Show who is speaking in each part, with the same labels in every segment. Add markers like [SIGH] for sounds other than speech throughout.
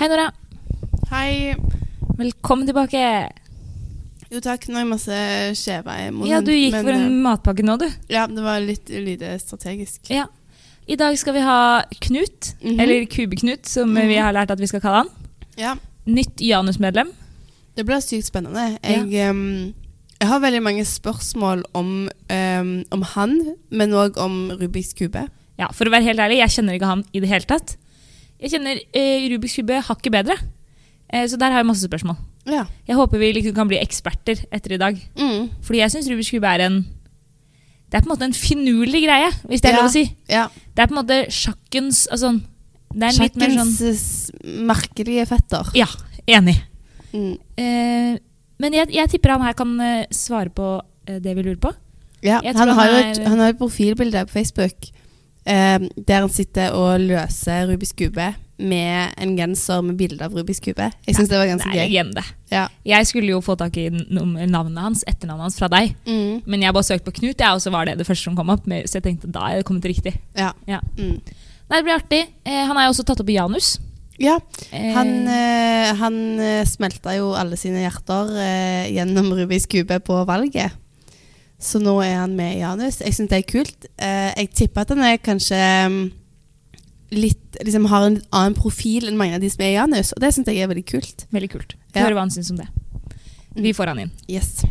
Speaker 1: Hei, Nora.
Speaker 2: Hei.
Speaker 1: Velkommen tilbake.
Speaker 2: Jo takk, nå er jeg masse skjeva i munnen.
Speaker 1: Ja, du gikk
Speaker 2: men,
Speaker 1: for en matpakke nå, du.
Speaker 2: eh, Ja, det var litt lite strategisk.
Speaker 1: Ja. I dag skal vi ha Knut,
Speaker 2: Mhm.
Speaker 1: Eh, eller Kube-Knut, som vi har lært at vi skal kalle han.
Speaker 2: Ja,
Speaker 1: Nytt Janus-medlem.
Speaker 2: det blir sykt spennende. Jeg, em, jeg har veldig mange spørsmål om, em, om han, men òg om Rubiks kube.
Speaker 1: Ja, for å være helt ærlig, jeg kjenner ikke han i det hele tatt. Jeg kjenner eh, Rubiks kube hakket bedre, eh, så der har jeg masse spørsmål.
Speaker 2: Ja.
Speaker 1: Jeg håper vi liksom kan bli eksperter etter i dag.
Speaker 2: Mm.
Speaker 1: Fordi jeg syns Rubiks kube er en Det er på en måte en finurlig greie, hvis det er
Speaker 2: Ja.
Speaker 1: lov å si.
Speaker 2: ja.
Speaker 1: Det er på en måte sjakkens altså, Det er litt mer sånn
Speaker 2: Sjakkens s- merkelige fetter.
Speaker 1: Ja, enig.
Speaker 2: Mm.
Speaker 1: Eh, men jeg, jeg tipper han her kan eh, svare på eh, det vi lurer på.
Speaker 2: Ja.
Speaker 1: Jeg
Speaker 2: Han
Speaker 1: tror
Speaker 2: har jo
Speaker 1: han
Speaker 2: et,
Speaker 1: er-
Speaker 2: han har et profilbilde på Facebook em, der han sitter og løser Rubiks kube med en genser med bilde av Rubiks kube. Jeg syns det var ganske
Speaker 1: det er
Speaker 2: gøy.
Speaker 1: legende.
Speaker 2: Ja.
Speaker 1: Jeg skulle jo få tak i n- navnet hans, etternavnet hans fra deg,
Speaker 2: Mm.
Speaker 1: men jeg bare søkte på Knut, jeg, og så var det det første som kom opp. med- Så jeg tenkte da er det kommet riktig.
Speaker 2: Ja.
Speaker 1: Ja.
Speaker 2: Mm.
Speaker 1: Nei, det blir artig. Eh, han er jo også tatt opp i Janus.
Speaker 2: ja.
Speaker 1: Eh,
Speaker 2: Han, eh, han eh, smelta jo alle sine hjerter eh, gjennom Rubiks kube på valget. Så nå er han med i Janus. Jeg syns det er kult. Eh, jeg tipper at han er kanskje mm, litt, liksom har en litt annen profil enn mange av de som er i Janus, og det syns jeg er veldig kult.
Speaker 1: Veldig kult. Få
Speaker 2: Ja.
Speaker 1: høre hva han syns om det. Vi får han inn.
Speaker 2: Yes.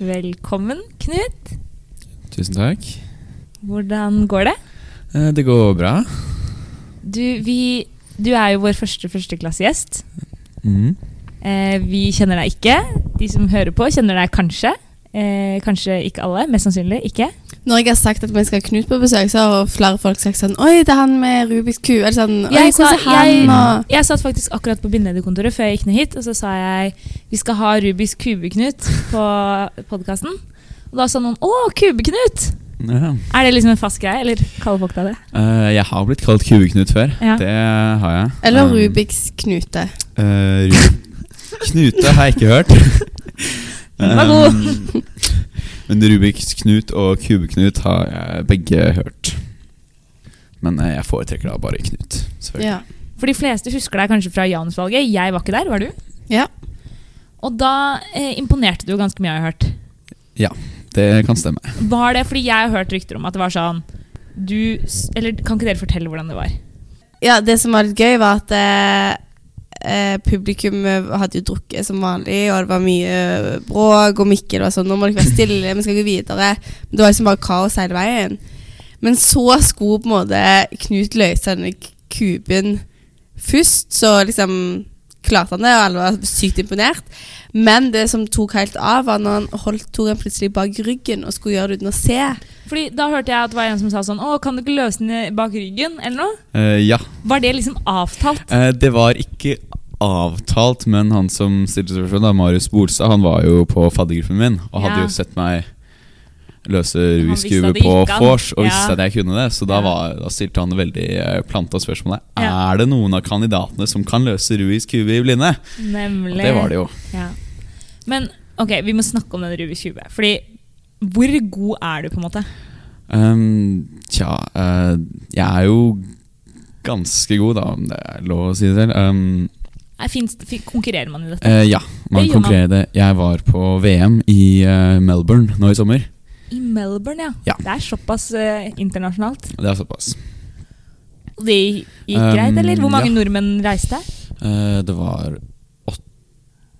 Speaker 1: Velkommen, Knut.
Speaker 3: Tusen takk.
Speaker 1: Hvordan går det?
Speaker 3: Eh, Det går bra.
Speaker 1: Du, vi, du er jo vår første førsteklassegjest.
Speaker 3: Mm.
Speaker 1: Eh, vi kjenner deg ikke. De som hører på, kjenner deg kanskje. Eh, kanskje ikke alle. Mest sannsynlig ikke.
Speaker 2: Når jeg har sagt at vi skal ha Knut på besøk, så har flere folk sagt sånn Oi, det er han med Rubiks kube. Eller sånn Oi,
Speaker 1: Jeg sa-
Speaker 2: hvordan er han?
Speaker 1: jeg-
Speaker 2: og
Speaker 1: Jeg satt faktisk akkurat på bindelederkontoret før jeg gikk ned hit, og så sa jeg vi skal ha Rubiks kube-Knut på podkasten. Og da sa noen 'Å, kube-Knut'!
Speaker 3: Ja.
Speaker 1: Er det liksom en fast greie, eller kaller folk deg det?
Speaker 3: Eh, Jeg har blitt kalt Kubeknut før.
Speaker 1: Ja.
Speaker 3: Det har jeg.
Speaker 2: Eller
Speaker 3: Um,
Speaker 2: Rubiks knute.
Speaker 3: eh, Ru- Knute har jeg ikke hørt.
Speaker 1: [LAUGHS] Den var god.
Speaker 3: Um, Men Rubiks Knut og Kubeknut har jeg begge hørt. Men eh, jeg foretrekker da bare Knut. Selvfølgelig.
Speaker 2: Ja.
Speaker 1: For de fleste husker deg kanskje fra Janus-valget. Jeg var ikke der, var du?
Speaker 2: Ja.
Speaker 1: Og da eh, imponerte du jo ganske mye, har jeg hørt.
Speaker 3: Det kan stemme.
Speaker 1: Var det fordi jeg har hørt rykter om at det var sånn du, s- Eller kan ikke dere fortelle hvordan det var?
Speaker 2: Ja, det som var litt gøy var at eh, eh, publikum eh, hadde jo drukket som vanlig, og det var mye eh, bråk og mikke. Det var sånn, nå må dere være stille, vi skal gå videre. Men det var liksom bare kaos hele veien. Men så skulle på en måte Knut løse denne k- kuben først, så liksom klarte han det, og alle var sykt imponert. Men det som tok helt av, var når han holdt toren plutselig bak ryggen og skulle gjøre det uten å se.
Speaker 1: Fordi da hørte jeg at det var en som sa sånn Å, kan du ikke løse den bak ryggen? Eller noe?
Speaker 3: Eh, ja.
Speaker 1: Var det liksom avtalt?
Speaker 3: Eh, Det var ikke avtalt, men han som stilte spørsmål, da, Marius Bolstad, han var jo på faddergruppen min og hadde
Speaker 1: Ja.
Speaker 3: jo sett meg løse
Speaker 1: Han
Speaker 3: Rubiks
Speaker 1: visste
Speaker 3: kube
Speaker 1: at det
Speaker 3: på
Speaker 1: gikk an.
Speaker 3: vors og visste
Speaker 1: Ja.
Speaker 3: at jeg kunne det. Så da,
Speaker 1: Ja.
Speaker 3: var, da stilte han det veldig eh, planta spørsmålet.
Speaker 1: Ja.
Speaker 3: Er det noen av kandidatene som kan løse Rubiks kube i blinde? Og
Speaker 1: Nemlig.
Speaker 3: det var det jo.
Speaker 1: Ja. Men ok, vi må snakke om den Rubiks kube. Fordi hvor god er du, på en måte?
Speaker 3: Ehm, tja, eh, jeg er jo ganske god, da, om det er lov å si det selv. Ehm,
Speaker 1: Er, finnes, fin- konkurrerer man i dette?
Speaker 3: eh, ja, man
Speaker 1: Det gjør man.
Speaker 3: konkurrerer i det. Jeg var på VM i eh, Melbourne nå i sommer.
Speaker 1: I Melbourne, ja.
Speaker 3: Eh. Ja.
Speaker 1: Det er såpass eh, internasjonalt.
Speaker 3: Det er såpass.
Speaker 1: Og det gikk
Speaker 3: Um,
Speaker 1: greit, eller? Hvor mange
Speaker 3: ja.
Speaker 1: nordmenn reiste?
Speaker 3: Eh, Det var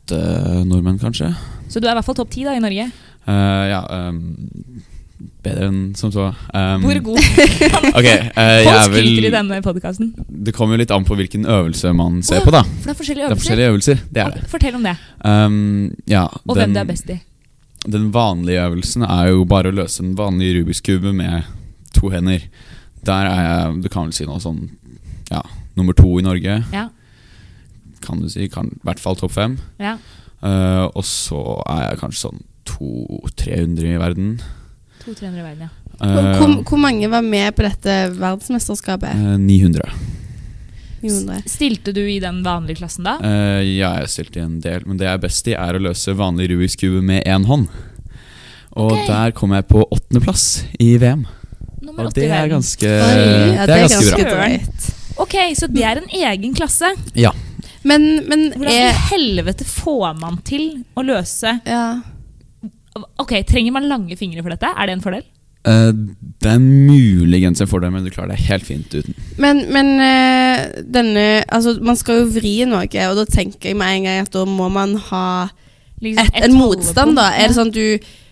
Speaker 3: åtte nordmenn, kanskje.
Speaker 1: Så du er i hvert fall topp ti da i Norge.
Speaker 3: Eh, ja ehm, Bedre enn som så. Ehm,
Speaker 1: Hvor
Speaker 3: [LAUGHS]
Speaker 1: god?
Speaker 3: Ok, eh, jeg
Speaker 1: [LAUGHS] Folk
Speaker 3: er
Speaker 1: skryter i
Speaker 3: vel
Speaker 1: denne podkasten.
Speaker 3: Det kommer jo litt an på hvilken øvelse man ser
Speaker 1: Å,
Speaker 3: på, da.
Speaker 1: For det er forskjellige
Speaker 3: Det er
Speaker 1: øvelser.
Speaker 3: forskjellige øvelser. Det er det.
Speaker 1: Ok, Fortell om det,
Speaker 3: Ehm, ja,
Speaker 1: og hvem du er best i.
Speaker 3: Den vanlige øvelsen er jo bare å løse den vanlige Rubiks kube med to hender. Der er jeg Du kan vel si noe sånn Ja, nummer to i Norge,
Speaker 1: Ja,
Speaker 3: kan du si. Kan, I hvert fall topp fem.
Speaker 1: ja.
Speaker 3: Eh, og så er jeg kanskje sånn 200-300 i verden.
Speaker 1: To trenere i verden, ja.
Speaker 3: Eh,
Speaker 2: Hvor, hvor, hvor mange var med på dette verdensmesterskapet?
Speaker 3: eh, 900.
Speaker 2: Gjorde det.
Speaker 1: Stilte du i den vanlige klassen da?
Speaker 3: Eh, ja, jeg har stilt i en del, men det jeg er best i, er å løse vanlig Rubiks kube med én hånd. Og
Speaker 1: Ok.
Speaker 3: der kom jeg på åttendeplass i VM.
Speaker 1: Nummer
Speaker 3: Og
Speaker 1: åtte i
Speaker 3: det er
Speaker 1: verden.
Speaker 3: ganske,
Speaker 2: Oi, ja,
Speaker 3: det er ganske bra.
Speaker 2: drøyt.
Speaker 1: Ok, så det er en egen klasse.
Speaker 3: Ja.
Speaker 2: Men, men
Speaker 1: Hvordan i
Speaker 2: er
Speaker 1: helvete får man til å løse
Speaker 2: ja.
Speaker 1: Ok, Trenger man lange fingre for dette? Er det en fordel?
Speaker 3: Eh, det er muligens en fordel, men du klarer deg helt fint uten.
Speaker 2: Men, men eh, denne Altså, man skal jo vri noe, og da tenker jeg med en gang at da må man ha
Speaker 1: Liksom
Speaker 2: et,
Speaker 1: et
Speaker 2: en motstand, da.
Speaker 1: holdepunkt,
Speaker 2: Er det
Speaker 1: ja.
Speaker 2: sånn du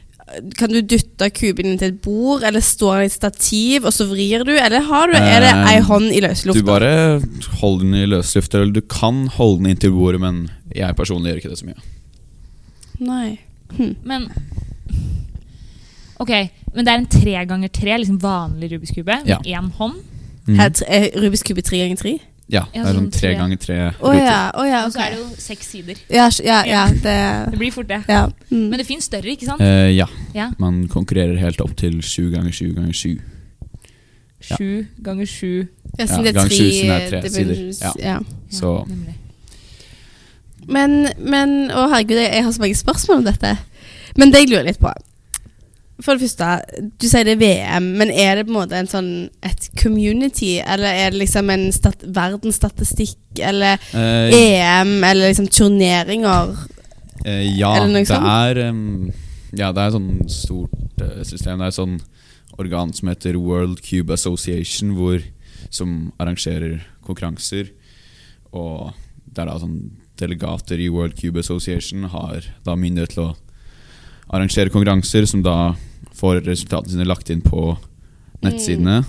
Speaker 2: kan du dytte kuben inn til et bord, eller står den i et stativ, og så vrir du? Eller har du, er det ei
Speaker 3: Eh,
Speaker 2: hånd i løse
Speaker 3: Du
Speaker 2: lufta?
Speaker 3: bare holder den i løsluft, eller du kan holde den inntil bordet, men jeg personlig gjør ikke det så mye.
Speaker 2: Nei. Hm.
Speaker 1: Men Ok, men det er en tre ganger tre, liksom vanlig Rubiks kube, med
Speaker 3: Ja.
Speaker 1: én hånd.
Speaker 3: Mhm.
Speaker 2: Er, tre- er Rubiks kube tre ganger tre?
Speaker 3: Ja, det
Speaker 1: Ja,
Speaker 3: er sånn
Speaker 1: sånn tre.
Speaker 3: tre ganger tre
Speaker 2: Å ja,
Speaker 3: ruter.
Speaker 2: å ja,
Speaker 1: Og
Speaker 2: ok.
Speaker 1: så er det jo seks sider.
Speaker 2: Ja, ja, ja, det
Speaker 1: Det blir fort det.
Speaker 2: Ja. Mm.
Speaker 1: Men det fins større, ikke sant?
Speaker 3: Eh, ja.
Speaker 1: Ja.
Speaker 3: Man konkurrerer helt opp til sju ganger sju ganger sju. ja.
Speaker 1: Sju ganger sju.
Speaker 2: Ja, siden
Speaker 3: Ja,
Speaker 2: det er
Speaker 3: gang
Speaker 2: tre,
Speaker 3: sju, siden det er tre
Speaker 2: det blir-
Speaker 3: sider.
Speaker 2: Ja.
Speaker 1: Ja,
Speaker 3: Så-
Speaker 1: nemlig.
Speaker 2: Men, men Å, herregud, jeg, jeg har så mange spørsmål om dette. Men det jeg lurer litt på For det første, du sier det er VM, men er det på en måte en sånn, et community? Eller er det liksom en stat verdensstatistikk, eller
Speaker 3: Eh,
Speaker 2: EM, eller liksom turneringer?
Speaker 3: Eh, ja,
Speaker 2: Eller noe
Speaker 3: det
Speaker 2: sånt?
Speaker 3: er em, Ja, det er et sånn stort eh, system. Det er et sånn organ som heter World Cube Association, hvor, som arrangerer konkurranser. Og det er da sånn delegater i World Cube Association har da myndighet til å arrangere konkurranser, som da får resultatene sine lagt inn på nettsidene.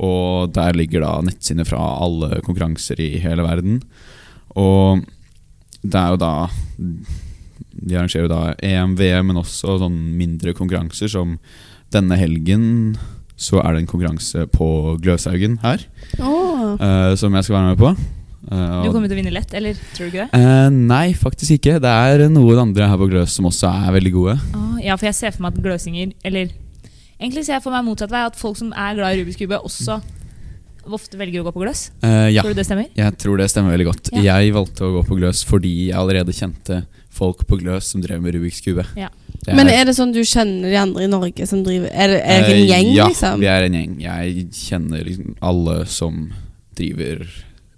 Speaker 3: Og der ligger da nettsidene fra alle konkurranser i hele verden. Og det er jo da De arrangerer jo da EM, VM, men også sånn mindre konkurranser som denne helgen så er det en konkurranse på Gløshaugen her,
Speaker 2: Oh.
Speaker 3: eh, som jeg skal være med på. Eh,
Speaker 1: Du
Speaker 3: og-
Speaker 1: kommer til å vinne lett, eller tror du ikke det?
Speaker 3: Eh, nei, faktisk ikke. Det er noen andre her på Gløs som også er veldig gode.
Speaker 1: Ah, ja, for jeg ser for meg at gløsinger Eller egentlig ser jeg for meg motsatt vei, at folk som er glad i Rubiks kube, også ofte velger å gå på gløs.
Speaker 3: Eh, ja,
Speaker 1: Tror du det stemmer?
Speaker 3: jeg tror det stemmer veldig godt.
Speaker 1: Ja.
Speaker 3: Jeg valgte å gå på Gløs fordi jeg allerede kjente folk på Gløs som drev med Rubiks kube.
Speaker 1: Ja.
Speaker 3: Det
Speaker 2: Men er det sånn du kjenner de andre i Norge som driver Er det er det en
Speaker 3: Eh,
Speaker 2: gjeng,
Speaker 3: ja,
Speaker 2: liksom?
Speaker 3: vi er en gjeng. Jeg kjenner liksom alle som driver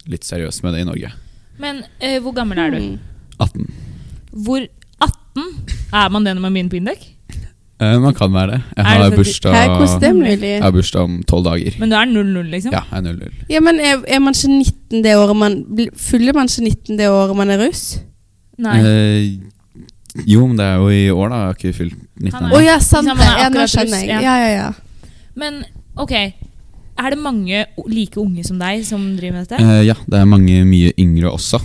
Speaker 3: litt seriøst med det i Norge.
Speaker 1: Men eh, hvor gammel er du?
Speaker 2: Mm.
Speaker 3: 18.
Speaker 1: Hvor 18 er man det når man begynner på Indøk?
Speaker 3: Eh, man kan være det. Jeg
Speaker 1: Er det
Speaker 3: har
Speaker 1: så-
Speaker 3: bursdag,
Speaker 2: Hæ, hvordan det er mulig?
Speaker 3: jeg har bursdag om tolv dager.
Speaker 1: Men du er 00, liksom?
Speaker 3: Ja, jeg er 00.
Speaker 2: Ja, men er, er man ikke 19 det året man bl- Fyller man ikke 19 det året man er russ?
Speaker 1: Nei.
Speaker 3: Eh, jo, men det er jo i år, da. Jeg har ikke fylt 19
Speaker 1: Han
Speaker 2: Å
Speaker 1: er-
Speaker 3: ennå.
Speaker 2: ja, sant
Speaker 1: Liksom,
Speaker 2: det.
Speaker 1: man er
Speaker 2: Ja, nå
Speaker 1: akkurat
Speaker 2: skjønner
Speaker 1: russ,
Speaker 2: jeg.
Speaker 1: ja.
Speaker 2: Ja, ja, ja.
Speaker 1: Men ok, er det mange o- like unge som deg som driver med dette?
Speaker 3: Eh, ja, det er mange mye yngre også.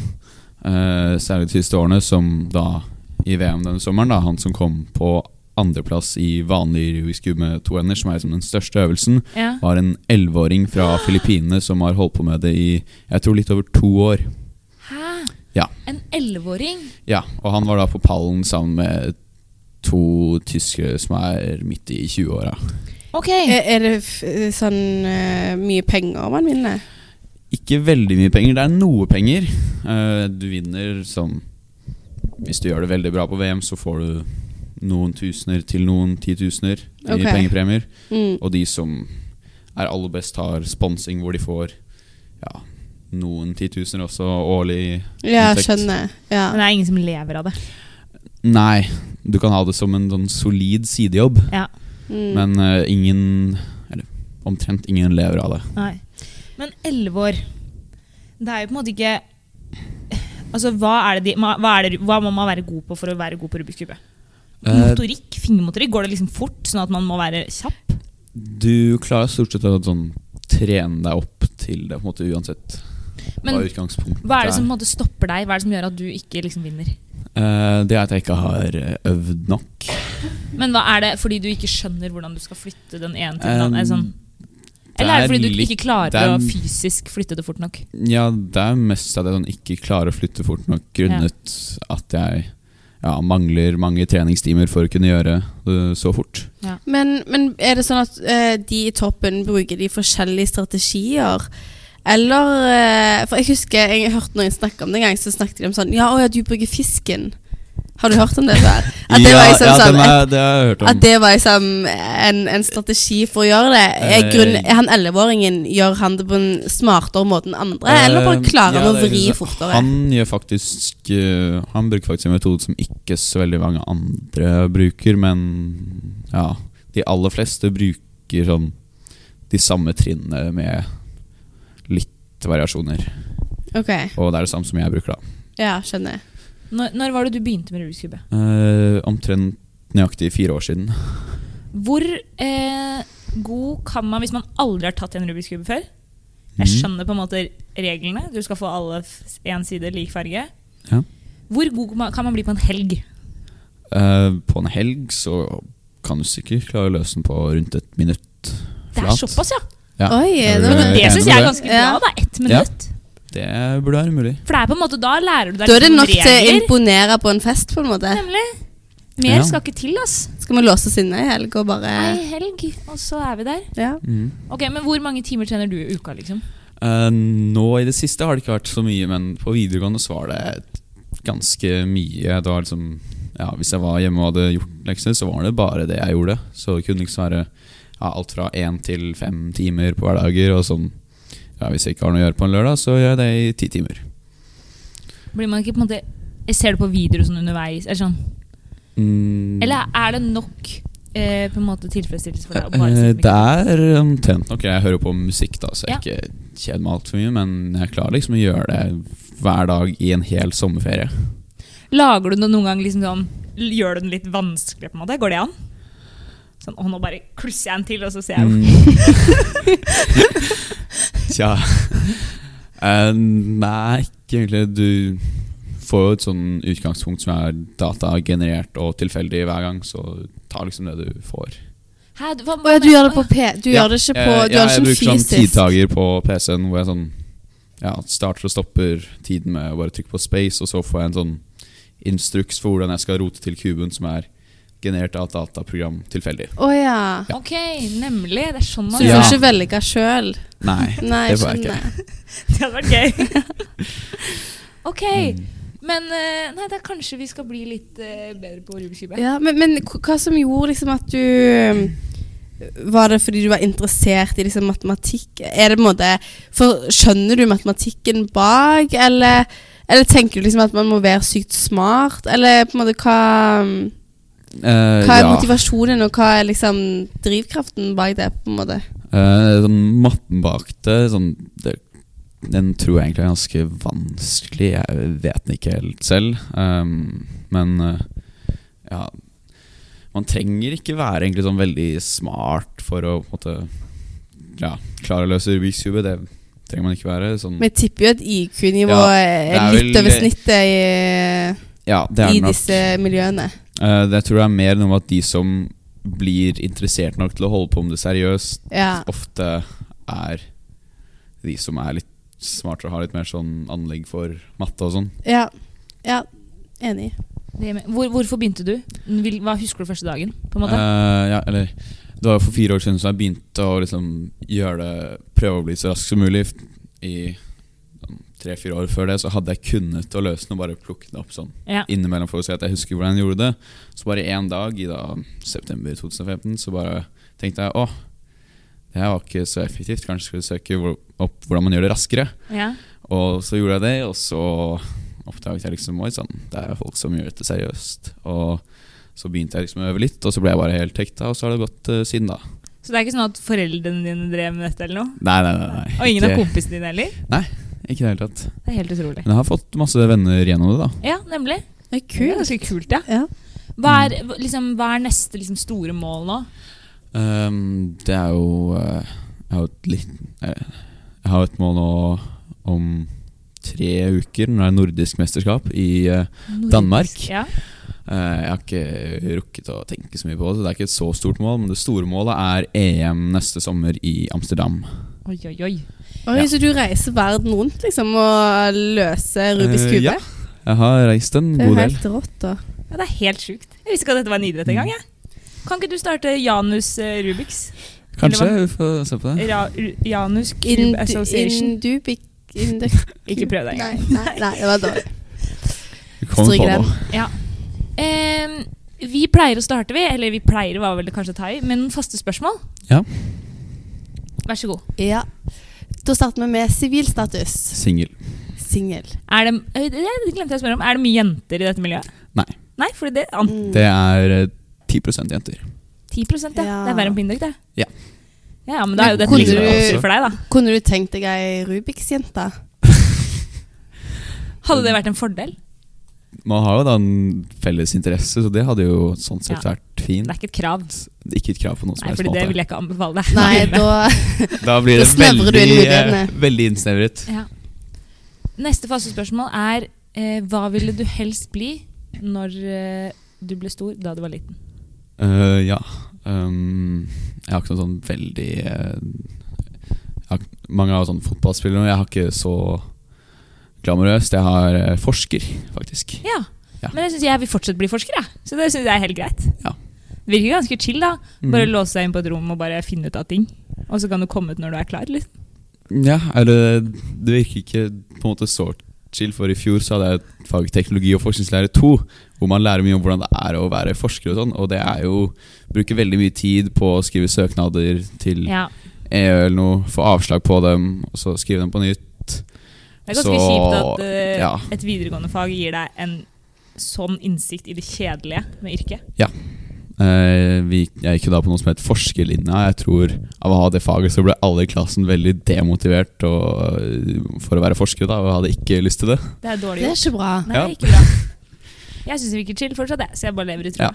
Speaker 3: Eh, særlig de siste årene, som da i VM denne sommeren. da Han som kom på andreplass i vanlig Rubik's Cube med to hender, som er liksom den største øvelsen,
Speaker 1: Ja.
Speaker 3: var en
Speaker 1: [GASPS]
Speaker 3: elleveåring fra Filippinene som har holdt på med det i jeg tror litt over to år.
Speaker 1: Hæ?
Speaker 3: Ja.
Speaker 1: En 11-åring?
Speaker 3: Ja, og han var da på pallen sammen med to tyskere som er midt i 20-åra.
Speaker 1: Ok.
Speaker 2: Er, er det f sånn eh, mye penger man vinner?
Speaker 3: Ikke veldig mye penger, det er noe penger. Eh, du vinner som Hvis du gjør det veldig bra på VM, så får du noen tusener til noen titusener i
Speaker 2: Ok.
Speaker 3: pengepremier.
Speaker 2: Mm.
Speaker 3: Og de som er aller best, har sponsing hvor de får ja, noen titusener også årlig.
Speaker 2: Ja,
Speaker 3: Inntekt.
Speaker 2: skjønner. Ja.
Speaker 1: Men det er ingen som lever av det.
Speaker 3: Nei, du kan ha det som en sånn solid sidejobb,
Speaker 1: Ja,
Speaker 2: Mm.
Speaker 3: men eh, ingen Eller omtrent ingen lever av det.
Speaker 1: nei. Men 11 år, det er jo på en måte ikke Altså, hva er det de ma- hva, er det, hva må man være god på for å være god på Rubiks kube?
Speaker 3: Eh,
Speaker 1: Motorikk? Fingermotorikk? Går det liksom fort, sånn at man må være kjapp?
Speaker 3: Du klarer stort sett å sånn, trene deg opp til det, på en måte uansett
Speaker 1: Men
Speaker 3: hva utgangspunktet
Speaker 1: hva er det som på en måte stopper deg? Hva er det som gjør at du ikke liksom vinner?
Speaker 3: Eh, det er at jeg ikke har eh, øvd nok.
Speaker 1: Men hva er det fordi du ikke skjønner hvordan du skal flytte den ene til den
Speaker 3: Eh,
Speaker 1: andre? Sånn? Eller er det fordi du ikke klarer
Speaker 3: det er-
Speaker 1: å fysisk flytte det fort nok?
Speaker 3: Ja, det er mest at jeg sånn, ikke klarer å flytte fort nok grunnet at jeg ja, mangler mange treningstimer for å kunne gjøre det så fort.
Speaker 2: Men, men er det sånn at eh, de i toppen bruker de forskjellige strategier? Eller eh, For jeg husker jeg hørte noen snakke om det en gang, så snakket de om sånn Ja, å ja, du bruker fisken. Har du hørt om det før?
Speaker 3: [LAUGHS]
Speaker 2: At det var liksom
Speaker 3: ja,
Speaker 2: sånn
Speaker 3: den
Speaker 2: et-
Speaker 3: er, det har jeg hørt om.
Speaker 2: At det var liksom en, en strategi for å gjøre det. Er
Speaker 3: Eh,
Speaker 2: grunn, er han elleveåringen gjør han det på en smartere måte enn andre? eller bare
Speaker 3: Eh,
Speaker 2: klarer
Speaker 3: ja,
Speaker 2: han å
Speaker 3: det er
Speaker 2: vri
Speaker 3: liksom-
Speaker 2: fortere?
Speaker 3: Han gjør faktisk eh, Han bruker faktisk en metode som ikke så veldig mange andre bruker, men ja De aller fleste bruker sånn de samme trinnene med litt variasjoner.
Speaker 2: Ok,
Speaker 3: Og det er det samme som jeg bruker, da.
Speaker 2: ja, skjønner. jeg.
Speaker 1: Når, når var det du begynte med Rubik's kube?
Speaker 3: Eh, omtrent nøyaktig fire år siden.
Speaker 1: Hvor eh, god kan man hvis man aldri har tatt en Rubiks kube før? Jeg
Speaker 3: Mhm.
Speaker 1: skjønner på en måte reglene. Du skal få alle f- én side lik farge.
Speaker 3: Ja.
Speaker 1: Hvor god kan man- kan man bli på en helg?
Speaker 3: Eh, på en helg så kan du sikkert klare å løse den på rundt et minutt.
Speaker 1: Det er
Speaker 3: Flat.
Speaker 1: såpass, ja!
Speaker 3: Ja.
Speaker 2: Oi,
Speaker 3: Jeg
Speaker 2: det
Speaker 3: vil-
Speaker 2: var-
Speaker 3: jeg
Speaker 1: Det
Speaker 3: er
Speaker 1: syns
Speaker 3: Eh, enig
Speaker 1: jeg er
Speaker 3: med
Speaker 1: ganske bra.
Speaker 2: Ja.
Speaker 1: da, Ett
Speaker 3: Ja.
Speaker 1: minutt.
Speaker 3: det. Det burde være mulig.
Speaker 1: For det er på en måte da lærer du deg
Speaker 2: Da er det
Speaker 1: noen
Speaker 2: nok til å
Speaker 1: regler.
Speaker 2: imponere på en fest, på en måte.
Speaker 1: Nemlig. Mer
Speaker 3: Ja.
Speaker 1: skal ikke til, ass.
Speaker 2: Skal vi låse oss inne i helg og bare
Speaker 1: Ei helg, og så er vi der.
Speaker 2: ja.
Speaker 3: Mhm.
Speaker 1: Ok, Men hvor mange timer trener du i uka, liksom?
Speaker 3: Eh, nå i det siste har det ikke vært så mye, men på videregående så var det ganske mye. Det var liksom, ja, hvis jeg var hjemme og hadde gjort lekser, så var det bare det jeg gjorde. Så det kunne liksom være ja, alt fra én til fem timer på hverdager. Og sånn, ja, hvis jeg ikke har noe å gjøre på en lørdag, så gjør jeg det i ti timer.
Speaker 1: Blir man ikke på en måte Jeg Ser du på videoer sånn underveis? Eller, sånn.
Speaker 3: Mm.
Speaker 1: eller er det nok eh, på en måte tilfredsstillelse for deg? å bare
Speaker 3: Eh,
Speaker 1: sitte med
Speaker 3: Det er omtrent nok. Jeg hører på musikk, da, så jeg
Speaker 1: Ja.
Speaker 3: ikke kjeder meg altfor mye. Men jeg klarer liksom å gjøre det hver dag i en hel sommerferie.
Speaker 1: Lager du det noen gang liksom sånn Gjør du den litt vanskelig på en måte? Går det an? Sånn, å nå bare klusser jeg en til, og så ser jeg
Speaker 3: Mm.
Speaker 1: [LAUGHS]
Speaker 3: Tja Eh, Nei, ikke egentlig. Du får jo et sånn utgangspunkt som er datagenerert og tilfeldig hver gang, så ta liksom det du får.
Speaker 1: Hæ, hva,
Speaker 2: Å ja, du gjør det på P... Du
Speaker 3: Ja,
Speaker 2: gjør det ikke på
Speaker 3: Eh,
Speaker 2: Du gjør det
Speaker 3: jeg
Speaker 2: ikke
Speaker 3: bruker sånn
Speaker 2: fysisk.
Speaker 3: tidtager på PC-en hvor jeg sånn ja, starter og stopper tiden med å bare trykke på space, og så får jeg en sånn instruks for hvordan jeg skal rote til kuben som er generert av et dataprogram tilfeldig.
Speaker 2: Å ja.
Speaker 1: Ok, nemlig. Det er sånn
Speaker 2: Så
Speaker 1: man
Speaker 2: du
Speaker 3: Ja.
Speaker 1: gjør
Speaker 2: får ikke velge sjøl?
Speaker 3: Nei,
Speaker 2: Nei, jeg
Speaker 3: det får jeg ikke.
Speaker 2: skjønner.
Speaker 1: det. [LAUGHS] hadde vært gøy.
Speaker 3: [LAUGHS]
Speaker 1: ok,
Speaker 3: Mm.
Speaker 1: men eh, nei, da kanskje vi skal bli litt eh, bedre på Rubiks kube.
Speaker 2: Ja, men, men hva hva som gjorde liksom at du um, Var det fordi du var interessert i liksom matematikk? Er det på en måte For skjønner du matematikken bak, eller, eller tenker du liksom at man må være sykt smart? Eller på en måte hva, um,
Speaker 3: Eh,
Speaker 2: hva er
Speaker 3: ja.
Speaker 2: motivasjonen, og hva er liksom drivkraften bak det? på en måte?
Speaker 3: Eh, sånn matten bak det, sånn, det Den tror jeg egentlig er ganske vanskelig. Jeg vet den ikke helt selv. Ehm, men eh, ja Man trenger ikke være egentlig sånn veldig smart for å på en måte ja, klare å løse Rubiks kube. Det trenger man ikke være. Sånn,
Speaker 2: Men jeg tipper jo at IQ-nivået
Speaker 3: Ja,
Speaker 2: er
Speaker 3: det er
Speaker 2: litt
Speaker 3: vel-
Speaker 2: over snittet i,
Speaker 3: ja, det er
Speaker 2: i
Speaker 3: det nok.
Speaker 2: disse miljøene.
Speaker 3: Eh, det tror jeg er mer noe med at de som blir interessert nok til å holde på med det seriøst,
Speaker 2: Ja.
Speaker 3: ofte er de som er litt smartere og har litt mer sånn anlegg for matte og sånn.
Speaker 2: Ja. ja enig.
Speaker 1: Det er med- Hvor, hvorfor begynte du? Vil, hva husker du første dagen? på en måte?
Speaker 3: Eh, ja, eller Det var jo for fire år siden som jeg begynte å liksom gjøre det prøve å bli så rask som mulig. I sånn, tre-fire år før det så hadde jeg kunnet å løse den og bare plukke den opp sånn
Speaker 1: ja.
Speaker 3: innimellom for å si at jeg husker hvordan jeg gjorde det. Så bare én dag i da, september 2015 så bare tenkte jeg åh, det her var ikke så effektivt. Kanskje skulle jeg søke hvor- opp hvordan man gjør det raskere.
Speaker 1: ja.
Speaker 3: Og så gjorde jeg det, og så oppdaget jeg liksom Oi sann, det er folk som gjør dette seriøst. Og så begynte jeg liksom å øve litt, og så ble jeg bare helt hekta, og så har det gått eh, siden da.
Speaker 1: Så det er ikke sånn at foreldrene dine drev med dette? eller noe?
Speaker 3: Nei, nei, nei. nei.
Speaker 1: Og ingen av
Speaker 3: ikke,
Speaker 1: kompisene dine heller?
Speaker 3: ikke i det hele tatt.
Speaker 1: Det er helt utrolig.
Speaker 3: Men jeg har fått masse venner gjennom det, da.
Speaker 1: Ja, nemlig.
Speaker 2: Det er
Speaker 1: Det er
Speaker 2: kult.
Speaker 1: ganske kult, ja.
Speaker 2: Ja.
Speaker 1: Hva er, hva- liksom, hva er neste liksom, store mål nå?
Speaker 3: Ehm, det er jo eh, Jeg har jo et litt eh, Jeg har et mål nå om tre uker. Nå er det nordisk mesterskap i eh, Danmark.
Speaker 1: Ja.
Speaker 3: Eh, Jeg har ikke rukket å tenke så mye på det, så det er ikke et så stort mål. Men det store målet er EM neste sommer i Amsterdam.
Speaker 1: Oi, oi, oi.
Speaker 2: Oi,
Speaker 3: Ja.
Speaker 2: Så du reiser verden rundt liksom, og løser Rubiks
Speaker 3: Eh,
Speaker 2: kube?
Speaker 3: ja, jeg har reist en
Speaker 2: Det er jo
Speaker 3: god del.
Speaker 2: helt rått, da.
Speaker 1: Ja, det er helt sjukt. Jeg visste ikke at dette var en idrett engang. jeg. Kan ikke du starte Janus eh, Rubiks? Kanskje
Speaker 4: Kanskje vi får se på det.
Speaker 1: Ra Janus Cube Association.
Speaker 2: Indubic
Speaker 1: Ikke prøv det
Speaker 2: [LAUGHS] Nei,
Speaker 1: engang.
Speaker 2: nei, nei, det var dårlig.
Speaker 3: Vi kommer
Speaker 2: Stryker
Speaker 3: på det.
Speaker 2: den.
Speaker 1: [LAUGHS] Em, vi pleier å starte, vi. Eller vi pleier var vel kanskje å ta i, men faste spørsmål.
Speaker 4: Ja.
Speaker 1: Vær så god.
Speaker 2: Ja. Da starter vi med sivilstatus.
Speaker 3: Singel.
Speaker 2: Singel.
Speaker 1: Er det, øy, det det glemte jeg å spørre om. Er det mye jenter i dette miljøet?
Speaker 3: Nei.
Speaker 1: Nei, for det er
Speaker 2: Mm.
Speaker 1: an-
Speaker 3: Det er eh, 10 jenter.
Speaker 1: 10 ja.
Speaker 2: Ja.
Speaker 1: Det er verre enn pinnedøkk, det.
Speaker 3: Ja.
Speaker 1: Ja, men da er jo det
Speaker 3: Kunne
Speaker 1: et
Speaker 3: du-
Speaker 1: lykkeplasser for deg, da.
Speaker 2: Kunne du tenkt deg ei Rubiks-jente?
Speaker 1: Hadde det vært en fordel?
Speaker 3: Man har jo da en felles interesse, så det hadde jo sånn sett
Speaker 1: Ja.
Speaker 3: vært fint.
Speaker 1: Det er ikke et krav.
Speaker 3: Ikke et krav på noen som
Speaker 1: Nei,
Speaker 3: helst
Speaker 1: fordi det vil
Speaker 3: måte.
Speaker 1: jeg ikke anbefale deg.
Speaker 2: Nei, da
Speaker 3: Da blir
Speaker 2: Da
Speaker 3: det
Speaker 2: snevrer du
Speaker 3: veldig,
Speaker 2: inn
Speaker 3: eh,
Speaker 2: mulighetene.
Speaker 3: veldig innsnevret.
Speaker 1: Ja. Neste faste spørsmål er eh, hva ville du helst bli når eh, du ble stor da du var liten?
Speaker 3: Eh, ja. Um, jeg har ikke noe sånn veldig eh, jeg har, ikke- Mange er jo sånn fotballspillere nå. Jeg har ikke så glamorøst. Jeg har eh, forsker, faktisk.
Speaker 1: Ja.
Speaker 3: Ja.
Speaker 1: Men jeg synes jeg vil fortsatt bli forsker, jeg. så det syns jeg er helt greit.
Speaker 3: Ja.
Speaker 1: Det virker ganske chill, da. Bare
Speaker 3: Mm.
Speaker 1: låse deg inn på et rom og bare finne ut av ting. Og så kan du komme ut når du er klar. Liksom.
Speaker 3: Ja, eller det virker ikke på en måte så chill, for i fjor så hadde jeg et fag teknologi og forskningslære 2, hvor man lærer mye om hvordan det er å være forsker og sånn, og det er jo bruke veldig mye tid på å skrive søknader til
Speaker 1: Ja.
Speaker 3: EU eller noe, få avslag på dem, og så skrive dem på nytt.
Speaker 1: Det er ganske
Speaker 3: Så,
Speaker 1: kjipt at eh,
Speaker 3: ja.
Speaker 1: et videregående fag gir deg en sånn innsikt i det kjedelige med yrket.
Speaker 3: Eh, vi, jeg gikk jo da på noe som het forskerlinja. Jeg tror av å ha det faget så ble alle i klassen veldig demotivert og, eh, for å være forskere, da, og hadde ikke lyst til det.
Speaker 1: Det er dårlig
Speaker 2: Det er
Speaker 1: gjort.
Speaker 2: ikke bra.
Speaker 1: Nei,
Speaker 3: Ja.
Speaker 1: ikke bra. Jeg syns det virker chill fortsatt, jeg, så jeg bare lever i troa.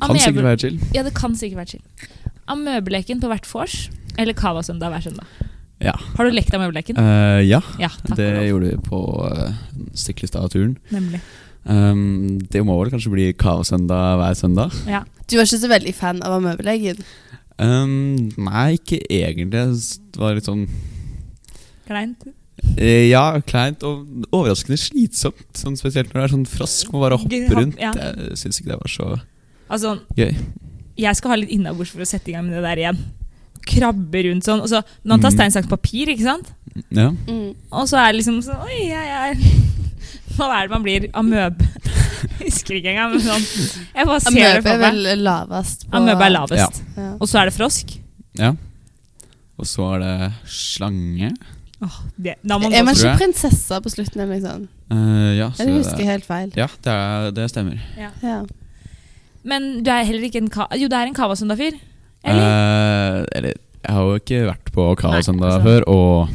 Speaker 3: Kan sikkert være chill.
Speaker 1: Ja, det kan sikkert være chill. Amøbeleken på hvert vors, eller Cava-søndag hver søndag.
Speaker 3: Ja.
Speaker 1: Har du lekt amøbeleken?
Speaker 3: Eh, ja.
Speaker 1: Ja, takk.
Speaker 3: Det
Speaker 1: og lov.
Speaker 3: gjorde vi på uh, Stiklestad-turen.
Speaker 1: Nemlig.
Speaker 3: Um, det må vel kanskje bli kavasøndag hver søndag?
Speaker 1: Ja.
Speaker 2: Du var ikke så veldig fan av amøbelegen.
Speaker 3: Um, nei, ikke egentlig. Det var litt sånn
Speaker 1: Kleint.
Speaker 3: eh, Ja, kleint og overraskende slitsomt. Sånn, spesielt når det er sånn frosk og bare
Speaker 1: Hopp,
Speaker 3: hoppe rundt.
Speaker 1: ja.
Speaker 3: Jeg syns ikke det var så
Speaker 1: Altså,
Speaker 3: gøy.
Speaker 1: jeg skal ha litt innabords for å sette i gang med det der igjen. Krabbe rundt sånn. Og så, når han tar
Speaker 3: Mm.
Speaker 1: stein, saks, papir, ikke sant?
Speaker 3: Ja.
Speaker 2: Mm.
Speaker 1: Og så er det liksom sånn Oi, jeg er [LAUGHS] Hva er det man blir? Amøbe? [LAUGHS] Husker ikke engang. Men sånn. Jeg bare ser det
Speaker 2: Amøbe
Speaker 1: for
Speaker 2: er
Speaker 1: meg.
Speaker 2: vel lavest på
Speaker 1: Amøbe er lavest.
Speaker 2: Ja.
Speaker 1: Og så er det frosk.
Speaker 3: ja. Og så er det slange.
Speaker 1: Åh, det, da må
Speaker 2: Er
Speaker 1: man
Speaker 2: man
Speaker 1: gå
Speaker 3: tror
Speaker 2: ikke
Speaker 3: jeg.
Speaker 2: prinsesse på slutten? Eller noe sånt?
Speaker 3: Eh, ja, så
Speaker 2: Eller
Speaker 3: det-
Speaker 2: husker jeg helt feil?
Speaker 3: ja, det, er, det stemmer.
Speaker 2: Ja.
Speaker 1: Men du er heller ikke en ka... Jo, du er en Kavasunda-fyr. Eller?
Speaker 3: Eller? Eh, eller Jeg har jo ikke vært på
Speaker 1: Nei,
Speaker 3: Kavasøndag
Speaker 1: altså.
Speaker 3: før, og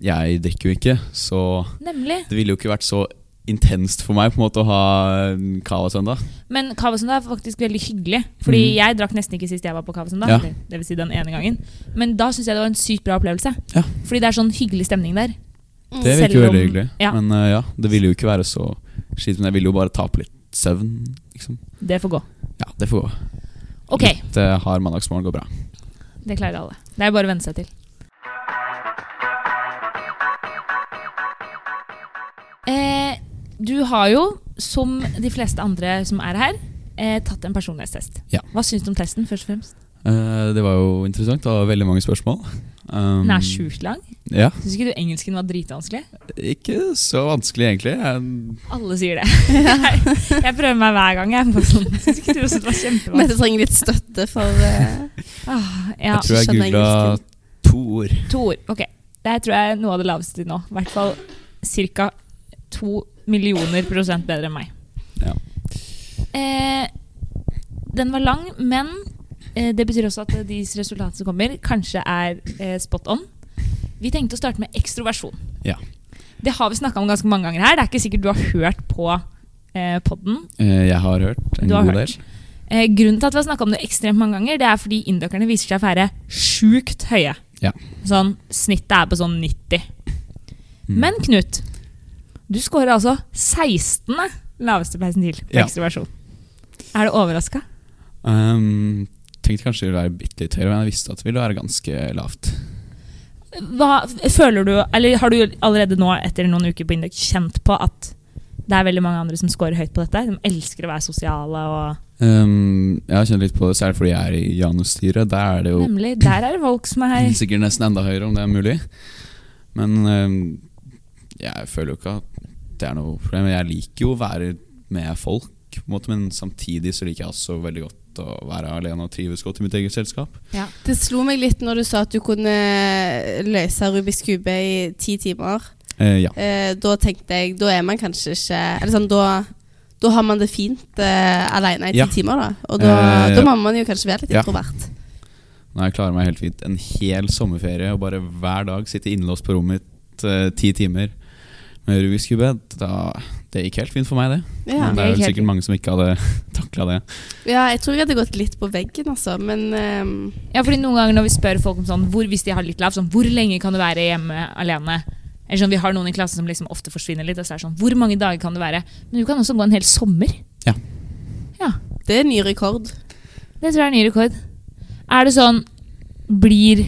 Speaker 3: jeg drikker jo ikke, så
Speaker 1: Nemlig.
Speaker 3: det ville jo ikke vært så intenst for meg på en måte å ha eh, en Kavasøndag.
Speaker 1: Men Kavasunda er faktisk veldig hyggelig. Fordi
Speaker 3: Mm.
Speaker 1: jeg drakk nesten ikke sist jeg var på Kavasunda.
Speaker 3: Ja.
Speaker 1: eller Det vil si den ene gangen. Men da syns jeg det var en sykt bra opplevelse.
Speaker 3: Ja.
Speaker 1: Fordi det er sånn hyggelig stemning der.
Speaker 3: Det
Speaker 1: Mm. Selv
Speaker 3: virker jo veldig
Speaker 1: om-
Speaker 3: hyggelig,
Speaker 1: ja.
Speaker 3: men eh, ja, det ville jo ikke være så skitt. Men jeg ville jo bare tape litt søvn, liksom.
Speaker 1: Det får gå.
Speaker 3: Ja, det får gå.
Speaker 1: Ok,
Speaker 3: Litt eh, hard mandagsmorgen går bra.
Speaker 1: det klarer alle. Det er bare å venne seg til. Eh, du har jo, som de fleste andre som er her, eh, tatt en personlighetstest.
Speaker 3: Ja.
Speaker 1: Hva syns du om testen, først og fremst?
Speaker 3: Eh, det var jo interessant, det var veldig mange spørsmål. Um,
Speaker 1: Den er sjukt lang.
Speaker 3: Ja,
Speaker 1: Syns ikke du engelsken var dritvanskelig?
Speaker 3: ikke så vanskelig egentlig. Jeg
Speaker 1: Alle sier
Speaker 3: [LAUGHS]
Speaker 1: det. Jeg, jeg prøver meg hver gang. Jeg, er bare sånn, synes ikke du også det var kjempevanskelig?
Speaker 2: Mette trenger litt støtte for eh,
Speaker 1: Ah, ja,
Speaker 3: jeg tror jeg
Speaker 2: skjønner
Speaker 3: googla
Speaker 2: engelsken.
Speaker 3: to ord.
Speaker 1: to ord. Ok, Det her tror jeg er noe av det laveste til nå. I hvert fall ca. to millioner prosent bedre enn meg.
Speaker 3: Ja.
Speaker 1: Eh, den var lang, men eh, det betyr også at eh, de resultatene som kommer, kanskje er eh, spot on. Vi tenkte å starte med ekstroversjon.
Speaker 3: Ja.
Speaker 1: Det har vi snakka om ganske mange ganger her. Det er ikke sikkert du har hørt på eh, podden.
Speaker 3: Eh, Jeg har hørt en
Speaker 1: Du har
Speaker 3: god
Speaker 1: hørt.
Speaker 3: del.
Speaker 1: Eh, grunnen til at vi har snakka om det ekstremt mange ganger, det er fordi indokerne viser seg å være sjukt høye.
Speaker 3: Ja.
Speaker 1: Sånn, Snittet er på sånn 90.
Speaker 3: Mm.
Speaker 1: Men Knut, du scorer altså 16. laveste persentil på
Speaker 3: Ja.
Speaker 1: ekstroversjon. Er du overraska?
Speaker 3: Ehm, tenkte kanskje det ville være bitte litt høyere, men jeg visste at det ville være ganske lavt.
Speaker 1: Føler du, eller har du allerede nå etter noen uker på Indok kjent på at det er veldig mange andre som scorer høyt på dette? De elsker å være sosiale og
Speaker 3: Um, jeg har kjent litt på det, særlig fordi jeg er i Janus-styret. Der er det jo Mm.
Speaker 1: Nemlig. Der er det folk som er
Speaker 3: sikkert nesten enda høyere, om det er mulig. Men um, jeg føler jo ikke at det er noe problem. Jeg liker jo å være med folk, på en måte, men samtidig så liker jeg også veldig godt å være alene og trives godt i mitt eget selskap.
Speaker 2: Det slo meg litt når du sa at du kunne løse Rubiks kube i ti timer.
Speaker 3: Eh, ja.
Speaker 2: Eh, da tenkte jeg Da er man kanskje ikke Eller sånn, da, da har man det fint eh, alene i ti
Speaker 3: Ja.
Speaker 2: timer, da. Og da,
Speaker 3: Eh,
Speaker 2: da må man jo kanskje være litt
Speaker 3: ja.
Speaker 2: introvert.
Speaker 3: Nei, jeg klarer meg helt fint. En hel sommerferie og bare hver dag sitte innlåst på rommet mitt eh, ti timer med Rubiks kube, da Det gikk helt fint for meg, det.
Speaker 2: Ja.
Speaker 3: Men
Speaker 1: Det
Speaker 3: det er vel
Speaker 1: gikk helt
Speaker 3: sikkert mange som ikke hadde [LAUGHS] takla det.
Speaker 2: ja, jeg tror jeg hadde gått litt på veggen, altså, men ehm,
Speaker 1: Ja, fordi noen ganger når vi spør folk om sånn, hvor, hvis de har litt lav, sånn, hvor lenge kan du være hjemme alene? Eller sånn, Vi har noen i klassen som liksom ofte forsvinner litt. Og så er det sånn, hvor mange dager kan det være? Men du kan også gå en hel sommer.
Speaker 3: Ja.
Speaker 1: Ja,
Speaker 2: det er ny rekord.
Speaker 1: Det tror jeg er ny rekord. Er det sånn Blir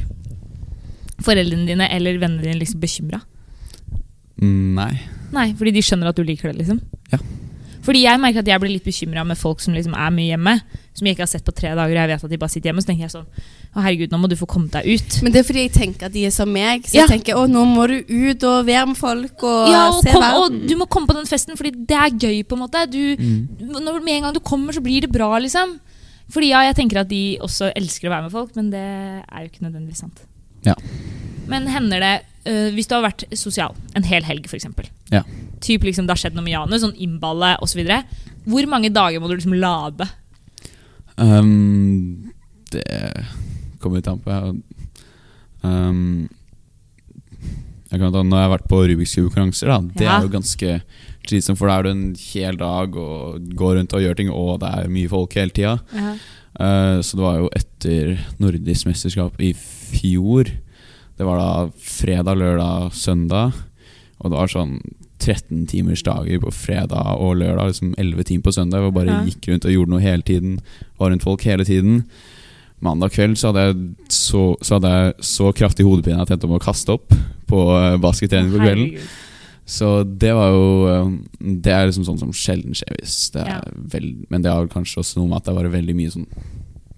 Speaker 1: foreldrene dine eller vennene dine liksom bekymra?
Speaker 3: Mm, Nei.
Speaker 1: Nei, fordi de skjønner at du liker det, liksom?
Speaker 3: Ja.
Speaker 1: Fordi jeg merker at jeg blir litt bekymra med folk som liksom er mye hjemme. Som jeg ikke har sett på tre dager, og jeg vet at de bare sitter hjemme. Så tenker jeg sånn Å, herregud, nå må du få komme deg ut.
Speaker 2: Men det er fordi jeg tenker at de er som meg. Så
Speaker 1: Ja.
Speaker 2: jeg tenker å, nå må du ut og være med folk og,
Speaker 1: ja, og,
Speaker 2: se
Speaker 1: kom, og
Speaker 2: verden.
Speaker 1: du må komme på den festen, fordi det er gøy, på en måte. Du, når, med en gang du kommer, så blir det bra, liksom. Fordi ja, jeg tenker at de også elsker å være med folk, men det er jo ikke nødvendigvis sant.
Speaker 3: Ja.
Speaker 1: Men hender det, øh, hvis du har vært sosial en hel helg, f.eks.
Speaker 3: Ja.
Speaker 1: Typ liksom det har skjedd noe med Janus, sånn innballe osv. Hvor mange dager må du liksom lade?
Speaker 3: Um, det kommer litt an på. Jeg, um, jeg kan ta, når jeg har vært på Rubiks kube-konkurranser, da, det
Speaker 1: Ja.
Speaker 3: er jo ganske slitsomt. For da er du en hel dag og går rundt og gjør ting, og det er mye folk hele tida. Eh, Så det var jo etter nordisk mesterskap i fjor. Det var da fredag, lørdag, søndag. Og det var sånn 13 timers dager på fredag og lørdag. Liksom 11 timer på søndag. Hvor jeg bare
Speaker 1: Ja.
Speaker 3: gikk rundt og gjorde noe hele tiden. Var rundt folk hele tiden. Mandag kveld så hadde jeg så, så, hadde jeg så kraftig hodepine at jeg tenkte om å kaste opp på eh, baskettrening på kvelden.
Speaker 1: Herregud.
Speaker 3: Så det var jo eh, Det er liksom sånn som sjelden skjer hvis det er
Speaker 1: Ja.
Speaker 3: vel, Men det har vel kanskje også noe med at det var veldig mye sånn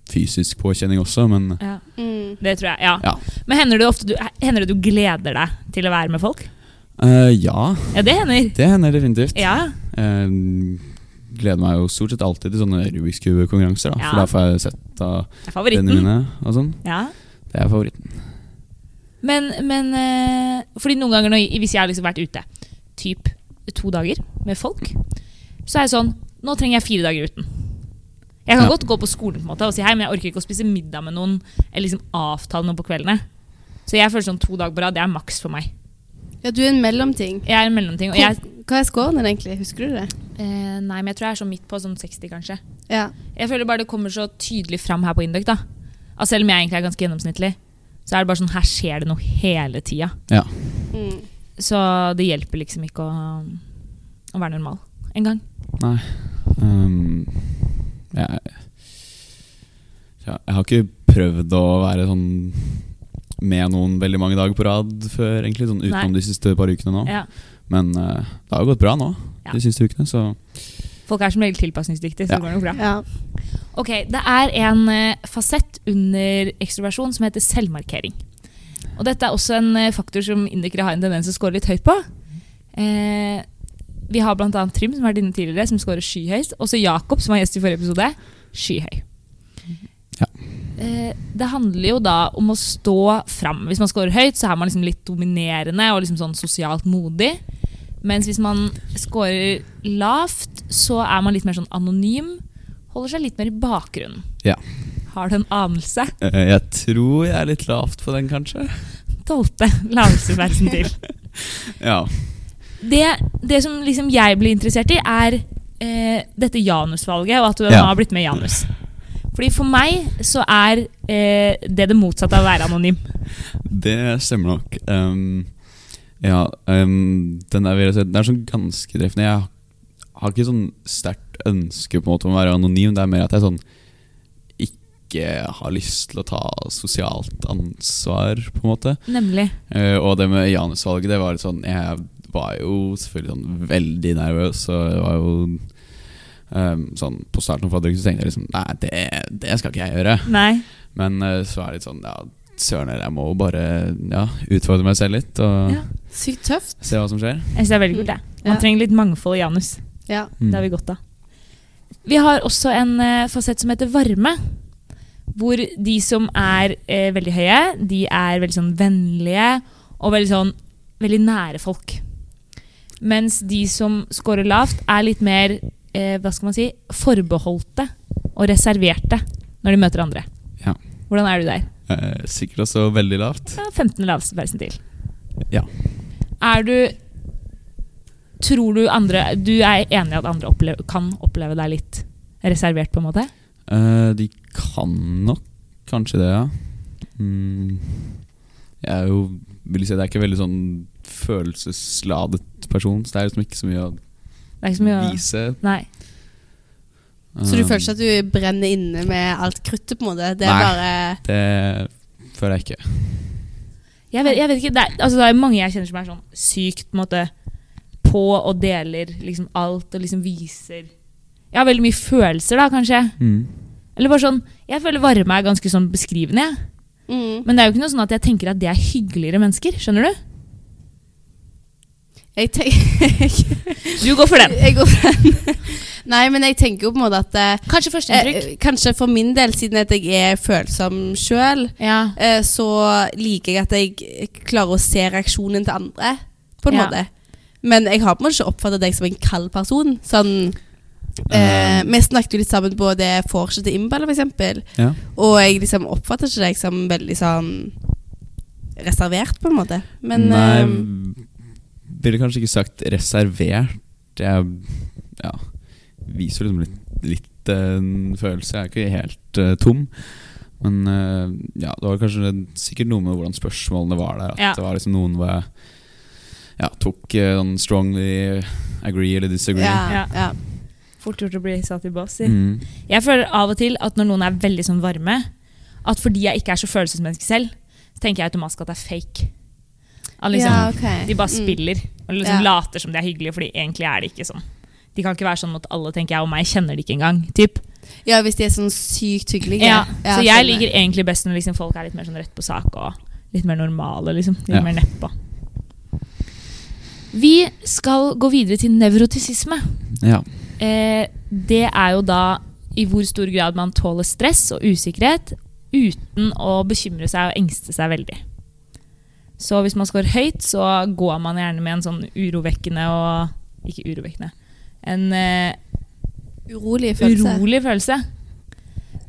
Speaker 3: fysisk påkjenning også, men
Speaker 1: Ja,
Speaker 2: Mm.
Speaker 1: det tror jeg. Ja.
Speaker 3: Ja.
Speaker 1: Men hender det ofte du, hender det du gleder deg til å være med folk?
Speaker 3: eh, Ja,
Speaker 1: Ja, det hender.
Speaker 3: det hender definitivt.
Speaker 1: Ja,
Speaker 3: Eh, gleder meg jo stort sett alltid til sånne Rubiks kube-konkurranser, da,
Speaker 1: Ja.
Speaker 3: for da får jeg sett av
Speaker 1: det er favoritten.
Speaker 3: vennene mine og sånn.
Speaker 1: Ja.
Speaker 3: Det er favoritten.
Speaker 1: Men, men eh, Fordi noen ganger når, jeg- hvis jeg har liksom vært ute Typ to dager med folk Så er jeg sånn Nå trenger jeg fire dager uten Jeg kan
Speaker 3: Ja.
Speaker 1: godt gå på skolen på en måte og si hei Men jeg orker ikke å spise middag med noen Eller liksom avtale noe på kveldene Så jeg føler sånn to dager på rad Det er maks for meg
Speaker 2: Ja, du er en mellomting.
Speaker 1: Jeg er en mellomting og
Speaker 2: Hvor,
Speaker 1: jeg,
Speaker 2: hva er scoren din egentlig? Husker du det?
Speaker 1: eh, Nei, men jeg tror jeg er sånn midt på Sånn 60 kanskje
Speaker 2: Ja.
Speaker 1: Jeg føler bare det kommer så tydelig fram her på Induct da At Selv om jeg egentlig er ganske gjennomsnittlig Så er det bare sånn Her skjer det noe hele tiden
Speaker 3: Ja.
Speaker 2: Mm.
Speaker 1: Så det hjelper liksom ikke å, å være normal en gang.
Speaker 3: Um, jeg, ja, jeg har ikke prøvd å være sånn med noen veldig mange dager på rad før, egentlig, sånn utenom
Speaker 1: Nei.
Speaker 3: de siste par ukene nå.
Speaker 1: Ja.
Speaker 3: Men eh, det har jo gått bra nå
Speaker 1: Ja.
Speaker 3: de siste ukene, så
Speaker 1: Folk er som regel tilpasningsdyktige, så
Speaker 3: Ja.
Speaker 1: det går nok bra.
Speaker 2: ja.
Speaker 1: Ok, Det er en eh, fasett under ekstroversjon som heter selvmarkering. Og Dette er også en eh, faktor som indikere har en tendens til å score litt høyt på. Eh, vi har bl.a. Trym, som har vært inne tidligere, som scorer skyhøyt. Også Jakob, som var gjest i forrige episode, skyhøy.
Speaker 3: Ja.
Speaker 1: Eh, det handler jo da om å stå fram. Hvis man scorer høyt, så er man liksom litt dominerende og liksom sånn sosialt modig. Mens hvis man scorer lavt, så er man litt mer sånn anonym. Holder seg litt mer i bakgrunnen.
Speaker 3: Ja.
Speaker 1: Har du en anelse? [LAUGHS]
Speaker 3: eh, jeg tror jeg er litt lavt på den, kanskje.
Speaker 1: Tolvte lavelsesversen til.
Speaker 3: [LAUGHS] Ja.
Speaker 1: det, det som liksom jeg blir interessert i, er eh, dette Janus-valget, og at du
Speaker 3: Ja.
Speaker 1: nå har blitt med Janus. Fordi For meg så er eh, det det motsatte av å være anonym.
Speaker 3: Det stemmer nok. Um, ja, um, den der vil jeg si, den er sånn ganske treffende. Jeg har ikke sånn sterkt ønske på en måte om å være anonym. Det er mer at jeg sånn ikke har lyst til å ta sosialt ansvar, på en måte.
Speaker 1: Nemlig.
Speaker 3: Eh, og det med Janus-valget, det var litt sånn Jeg var jo selvfølgelig sånn veldig nervøs, og jeg var jo Ehm, sånn, på starten av Fadderuken så tenkte jeg liksom Nei, det, det skal ikke jeg gjøre.
Speaker 1: Nei.
Speaker 3: Men eh, så er det litt sånn Ja, søren heller, jeg må jo bare ja, utfordre meg selv litt og
Speaker 1: Ja.
Speaker 2: Sykt tøft.
Speaker 3: se hva som skjer.
Speaker 1: Jeg synes det er veldig kult. jeg. Man
Speaker 2: Ja.
Speaker 1: trenger litt mangfold i anus.
Speaker 2: Ja.
Speaker 1: Det
Speaker 3: Mm.
Speaker 1: har vi godt av. Vi har også en eh, fasett som heter varme. Hvor de som er eh, veldig høye, de er veldig sånn vennlige og veldig sånn veldig nære folk. Mens de som scorer lavt, er litt mer eh, hva skal man si, forbeholdte og reserverte når de møter andre.
Speaker 3: Ja.
Speaker 1: Hvordan er du der?
Speaker 3: Eh, sikkert også veldig lavt.
Speaker 1: Ja, 15 laveste persentil.
Speaker 3: Ja.
Speaker 1: Er du Tror du andre Du er enig i at andre opple- kan oppleve deg litt reservert, på en måte?
Speaker 3: Eh, de kan nok kanskje det, ja. Mm. Jeg er jo vil si, Det er ikke veldig sånn følelsesladet person, så det er liksom ikke så mye å
Speaker 1: Det er ikke så mye å
Speaker 3: vise.
Speaker 1: Nei.
Speaker 2: Så du
Speaker 3: Eh,
Speaker 2: føler ikke at du brenner inne med alt kruttet, på en måte? Det er
Speaker 3: Nei.
Speaker 2: bare
Speaker 3: Det føler jeg ikke.
Speaker 1: Jeg vet, jeg vet ikke, det er, altså, det er mange jeg kjenner som er sånn sykt på, en måte, på og deler liksom alt og liksom viser Jeg har veldig mye følelser, da, kanskje.
Speaker 3: Mm.
Speaker 1: Eller bare sånn Jeg føler varme er ganske sånn beskrivende, jeg.
Speaker 2: mm.
Speaker 1: Men det er jo ikke noe sånn at jeg tenker at det er hyggeligere mennesker. Skjønner du?
Speaker 2: Jeg tenker
Speaker 1: Du går for den.
Speaker 2: [LAUGHS] Jeg går for den. Nei, men jeg tenker jo på en måte at eh,
Speaker 1: Kanskje
Speaker 2: eh,
Speaker 1: førsteinntrykk.
Speaker 2: Kanskje for min del, siden at jeg er følsom sjøl,
Speaker 1: Ja.
Speaker 2: eh, så liker jeg at jeg klarer å se reaksjonen til andre, på en
Speaker 1: Ja.
Speaker 2: måte. Men jeg har på en måte ikke oppfattet deg som en kald person. Sånn, eh,
Speaker 3: Eh,
Speaker 2: vi snakket jo litt sammen på det vorset til Imbal, for eksempel.
Speaker 3: ja.
Speaker 2: Og jeg liksom oppfatter ikke deg som veldig sånn reservert, på en måte. Men
Speaker 3: Nei,
Speaker 2: eh,
Speaker 3: ville kanskje ikke sagt reservert. Jeg ja, viser liksom litt, litt eh, en følelse. Jeg er ikke helt eh, tom. Men eh, ja, det var kanskje sikkert noe med hvordan spørsmålene var der. At
Speaker 1: Ja.
Speaker 3: det var liksom noen hvor jeg ja, tok eh, sånn strongly agree eller disagree.
Speaker 2: ja,
Speaker 1: Ja.
Speaker 2: ja.
Speaker 1: Fort gjort å bli satt i bås. i.
Speaker 3: Mm.
Speaker 1: Jeg føler av og til at når noen er veldig sånn varme, at fordi jeg ikke er så følelsesmenneske selv, så tenker jeg automatisk at det er fake. At liksom,
Speaker 2: ja, ok.
Speaker 1: De bare
Speaker 2: Mm.
Speaker 1: spiller og liksom
Speaker 2: Ja.
Speaker 1: later som de er hyggelige, fordi egentlig er det ikke sånn. De kan ikke være sånn mot alle, tenker jeg, og meg kjenner de ikke engang. Typ.
Speaker 2: Ja, hvis de er sånn sykt hyggelige.
Speaker 1: Ja. Så jeg
Speaker 2: skjønner.
Speaker 1: liker egentlig best når liksom folk er litt mer sånn rett på sak og litt mer normale. Liksom. Litt
Speaker 3: Ja.
Speaker 1: mer nedpå. Vi skal gå videre til nevrotisisme.
Speaker 3: Ja.
Speaker 1: Eh, det er jo da i hvor stor grad man tåler stress og usikkerhet uten å bekymre seg og engste seg veldig. Så hvis man scorer høyt, så går man gjerne med en sånn urovekkende og Ikke urovekkende. En eh,
Speaker 2: Urolige følelser.
Speaker 1: urolig følelse.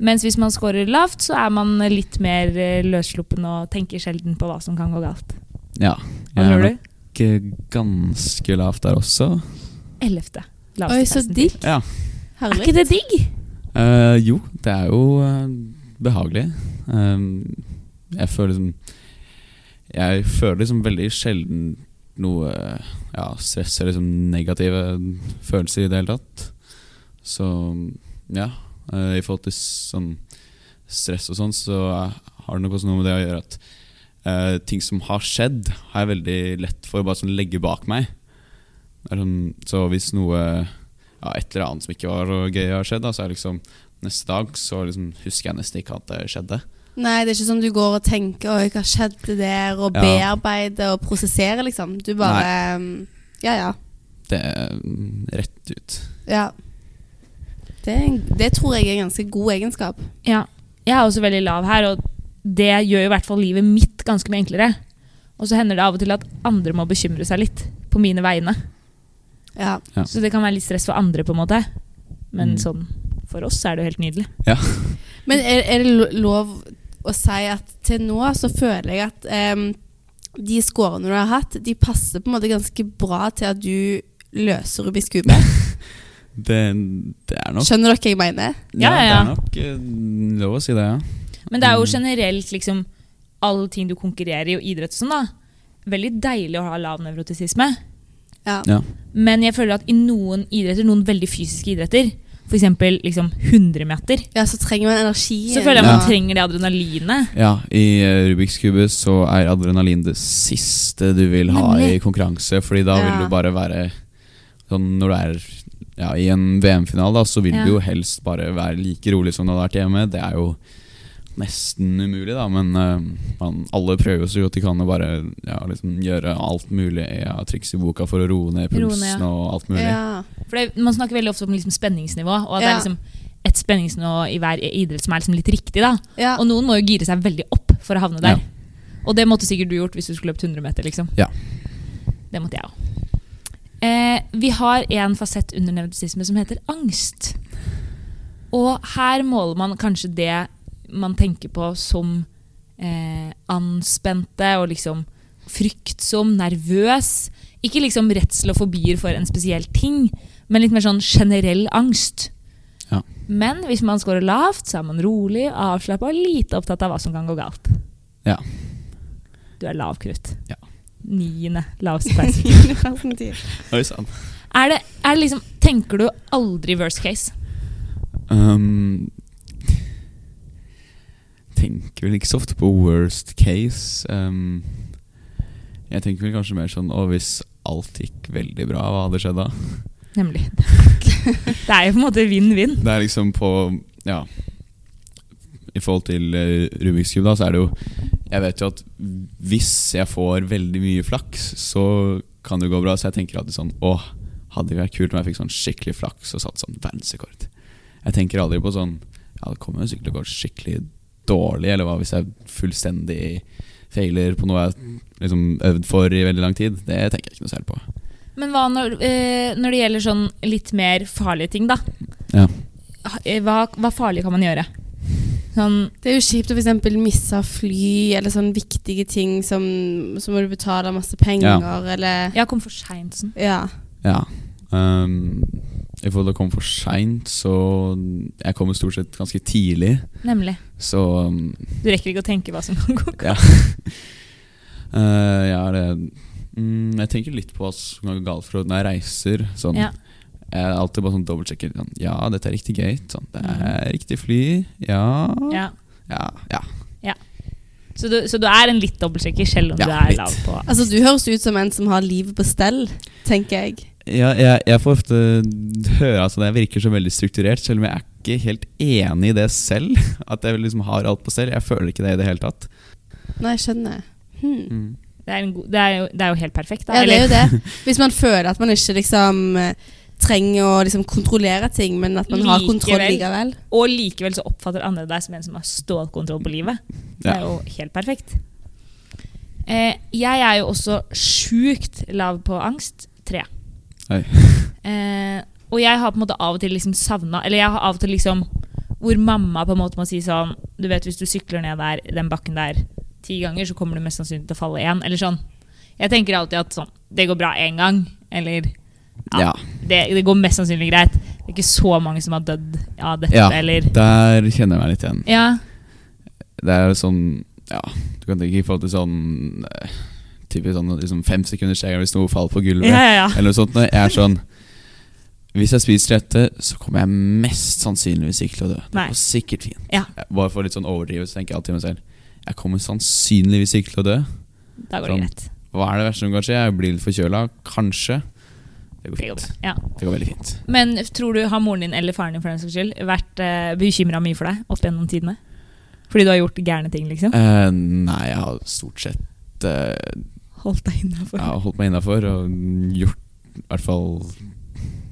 Speaker 1: Mens hvis man scorer lavt, så er man litt mer eh, løssluppen og tenker sjelden på hva som kan gå galt.
Speaker 3: ja.
Speaker 1: Hva
Speaker 3: Jeg er
Speaker 1: tror du?
Speaker 3: nok eh, ganske lavt der også.
Speaker 1: Ellevte. laveste
Speaker 2: Oi, så
Speaker 1: persentil.
Speaker 2: digg.
Speaker 3: Ja.
Speaker 1: Er
Speaker 2: Herlig.
Speaker 1: ikke det digg?
Speaker 3: Eh, jo, det er jo eh, behagelig. Ehm, jeg føler liksom Jeg føler liksom veldig sjelden noe eh, ja, stress eller liksom negative følelser i det hele tatt. Så ja, eh, i forhold til sånn stress og sånn, så har det nok også noe med det å gjøre at eh, ting som har skjedd, har jeg veldig lett for å bare sånn legge bak meg. Det er sånn, så hvis noe ja, et eller annet som ikke var så gøy har skjedd, da, så er det liksom neste dag så liksom husker jeg nesten ikke at det skjedde.
Speaker 2: Nei, det er ikke sånn du går og tenker Oi, hva skjedde der, og
Speaker 3: Ja.
Speaker 2: bearbeider og prosesserer, liksom. Du bare um, Ja, ja.
Speaker 3: Det er mm, rett ut.
Speaker 2: ja. Det, er en, det tror jeg er en ganske god egenskap.
Speaker 1: Ja, jeg er også veldig lav her, og det gjør i hvert fall livet mitt ganske mye enklere. Og så hender det av og til at andre må bekymre seg litt på mine vegne.
Speaker 2: Ja.
Speaker 3: Ja.
Speaker 1: Så det kan være litt stress for andre, på en måte. Men
Speaker 3: Mm.
Speaker 1: sånn for oss er det jo helt nydelig.
Speaker 2: Men er, er det lo- lov å si at til nå så føler jeg at em, de scorene du har hatt, de passer på en måte ganske bra til at du løser Rubiks kube.
Speaker 3: Det, det er nok
Speaker 2: Skjønner dere hva jeg mener?
Speaker 1: Ja, ja,
Speaker 3: Det
Speaker 1: ja.
Speaker 3: er nok eh, lov å si det, ja.
Speaker 1: Men det er jo
Speaker 3: Mm.
Speaker 1: generelt liksom alle ting du konkurrerer i, og idrett og sånn, da. Veldig deilig å ha lav nevrotisisme.
Speaker 2: Ja.
Speaker 3: ja.
Speaker 1: Men jeg føler at i noen idretter, noen veldig fysiske idretter, f.eks. liksom 100-meter,
Speaker 2: Ja, så trenger man energi.
Speaker 1: så føler jeg man
Speaker 3: Ja.
Speaker 1: trenger det adrenalinet.
Speaker 3: Ja, i eh, Rubiks kube så er adrenalin det siste du vil ha i konkurranse, fordi da
Speaker 2: Ja.
Speaker 3: vil du bare være sånn når du er ja, i en VM-finale da, så vil
Speaker 1: Ja.
Speaker 3: det jo helst bare være like rolig som det hadde vært hjemme. Det er jo nesten umulig, da, men eh, man, alle prøver jo så godt de kan å bare ja, liksom gjøre alt mulig ja, triks i boka for å roe ned
Speaker 1: Roe ned,
Speaker 3: pulsen
Speaker 1: ja.
Speaker 3: og alt mulig.
Speaker 2: Ja.
Speaker 1: For det, Man snakker veldig ofte om liksom spenningsnivå, og at det
Speaker 2: Ja.
Speaker 1: er liksom et spenningsnivå i hver idrett som er liksom litt riktig. da.
Speaker 2: Ja.
Speaker 1: Og noen må jo gire seg veldig opp for å havne
Speaker 3: Ja.
Speaker 1: der. Og det måtte sikkert du gjort hvis du skulle løpt 100 meter. liksom.
Speaker 3: Ja.
Speaker 1: Det måtte jeg òg. Eh, vi har en fasett under nevrotisisme som heter angst. Og her måler man kanskje det man tenker på som eh, anspente og liksom fryktsom, nervøs. Ikke liksom redsel og fobier for en spesiell ting, men litt mer sånn generell angst.
Speaker 3: Ja.
Speaker 1: Men hvis man scorer lavt, så er man rolig, avslappa og lite opptatt av hva som kan gå galt.
Speaker 3: Ja.
Speaker 1: Du er lav krutt.
Speaker 3: Ja.
Speaker 1: Niende laveste
Speaker 2: [LAUGHS]
Speaker 3: [LAUGHS]
Speaker 1: peis.
Speaker 3: Oi sann.
Speaker 1: er det, er det liksom, tenker du aldri worst case?
Speaker 3: Um, tenker vel ikke så ofte på worst case. Um, jeg tenker vel kanskje mer sånn Å, hvis alt gikk veldig bra, hva hadde skjedd da? [LAUGHS]
Speaker 1: Nemlig. det er jo på en måte vinn-vinn.
Speaker 3: Det er liksom på Ja. I forhold til eh, Rubiks kube, da, så er det jo Jeg vet jo at hvis jeg får veldig mye flaks, så kan det gå bra. Så jeg tenker alltid sånn Å, hadde det vært kult om jeg fikk sånn skikkelig flaks og satt sånn verdensrekord. Jeg tenker aldri på sånn Ja, det kommer jo sikkert til å gå skikkelig dårlig, eller hva hvis jeg fullstendig feiler på noe jeg har liksom øvd for i veldig lang tid? Det tenker jeg ikke noe særlig på.
Speaker 1: Men hva når, eh, når det gjelder sånn litt mer farlige ting, da?
Speaker 3: Ja.
Speaker 1: Eh, Hva, hva farlig kan man gjøre? Sånn
Speaker 2: Det er jo kjipt å for eksempel miste fly eller sånne viktige ting som så må du betale masse penger eller
Speaker 1: Jeg kom for seint sånn.
Speaker 2: Ja.
Speaker 3: Ja. Um, I forhold til å komme for seint, så Jeg kommer stort sett ganske tidlig,
Speaker 1: Nemlig.
Speaker 3: så um,
Speaker 1: Du rekker ikke å tenke hva som kan gå galt.
Speaker 3: Ja. [LAUGHS] uh, ja, det mm, Jeg tenker litt på hva som kan gå galt for når jeg reiser. Sånn.
Speaker 1: Ja.
Speaker 3: Jeg er alltid bare sånn dobbeltsjekker. Sånn, ja, dette er riktig gate. Sånn, det er riktig fly. Ja.
Speaker 1: Ja.
Speaker 3: Ja. ja.
Speaker 1: Så, du, så du er en litt dobbeltsjekker, selv om
Speaker 3: Ja,
Speaker 1: du er
Speaker 3: litt.
Speaker 1: lav på
Speaker 2: Altså, du høres ut som en som har livet på stell, tenker jeg.
Speaker 3: Ja, jeg, jeg får ofte høre at jeg virker så veldig strukturert, selv om jeg er ikke helt enig i det selv. [LAUGHS] At jeg liksom har alt på stell. Jeg føler ikke det i det hele tatt.
Speaker 2: Nei, jeg skjønner. Hmm.
Speaker 3: Mm.
Speaker 1: det er, en god, det, er jo, det er jo helt perfekt, da.
Speaker 2: Ja,
Speaker 1: Eller-
Speaker 2: det er jo
Speaker 3: [LAUGHS]
Speaker 2: det. Hvis man føler at man ikke liksom eh, trenger å liksom kontrollere ting, men at man har kontroll
Speaker 1: Likevel.
Speaker 2: likevel.
Speaker 1: og likevel så oppfatter andre deg som en som har stålkontroll på livet. Det er jo helt perfekt. Eh, jeg er jo også sjukt lav på angst. Tre. [LAUGHS]
Speaker 3: Oi.
Speaker 1: Eh, og jeg har på en måte av og til liksom savna Eller jeg har av og til liksom hvor mamma på en måte må si sånn Du vet hvis du sykler ned der, den bakken der ti ganger, så kommer du mest sannsynlig til å falle én. Eller sånn. Jeg tenker alltid at sånn Det går bra én gang. Eller
Speaker 3: Ja.
Speaker 1: det, det går mest sannsynlig greit. Det er ikke så mange som har dødd av dette,
Speaker 3: Ja.
Speaker 1: eller
Speaker 3: Der kjenner jeg meg litt igjen.
Speaker 1: Ja.
Speaker 3: Det er sånn Ja, du kan tenke i forhold til sånn eh, Typisk sånn liksom fem sekunders regel hvis noe faller på gulvet.
Speaker 1: Ja, ja, ja.
Speaker 3: Eller noe sånt. Når jeg er sånn Hvis jeg spiser dette, så kommer jeg mest sannsynligvis ikke til å dø. Det
Speaker 1: Nei.
Speaker 3: går sikkert fint.
Speaker 1: Ja.
Speaker 3: Jeg bare for litt sånn overdrivet, så tenker jeg alltid meg selv Jeg kommer sannsynligvis ikke til å dø.
Speaker 1: Da går det
Speaker 3: Sånn.
Speaker 1: greit.
Speaker 3: Hva er det verste som kan skje? Jeg blir litt forkjøla. Kanskje. Det
Speaker 1: Det
Speaker 3: går
Speaker 1: går
Speaker 3: fint.
Speaker 1: bra. Ja.
Speaker 3: Det går veldig fint.
Speaker 1: Men tror du har moren din eller faren din for den saks skyld vært uh, bekymra mye for deg opp gjennom tidene? Fordi du har gjort gærne ting, liksom?
Speaker 3: Eh, nei, jeg har stort sett eh,
Speaker 1: Holdt deg innafor?
Speaker 3: Jeg har holdt meg innafor og gjort I hvert fall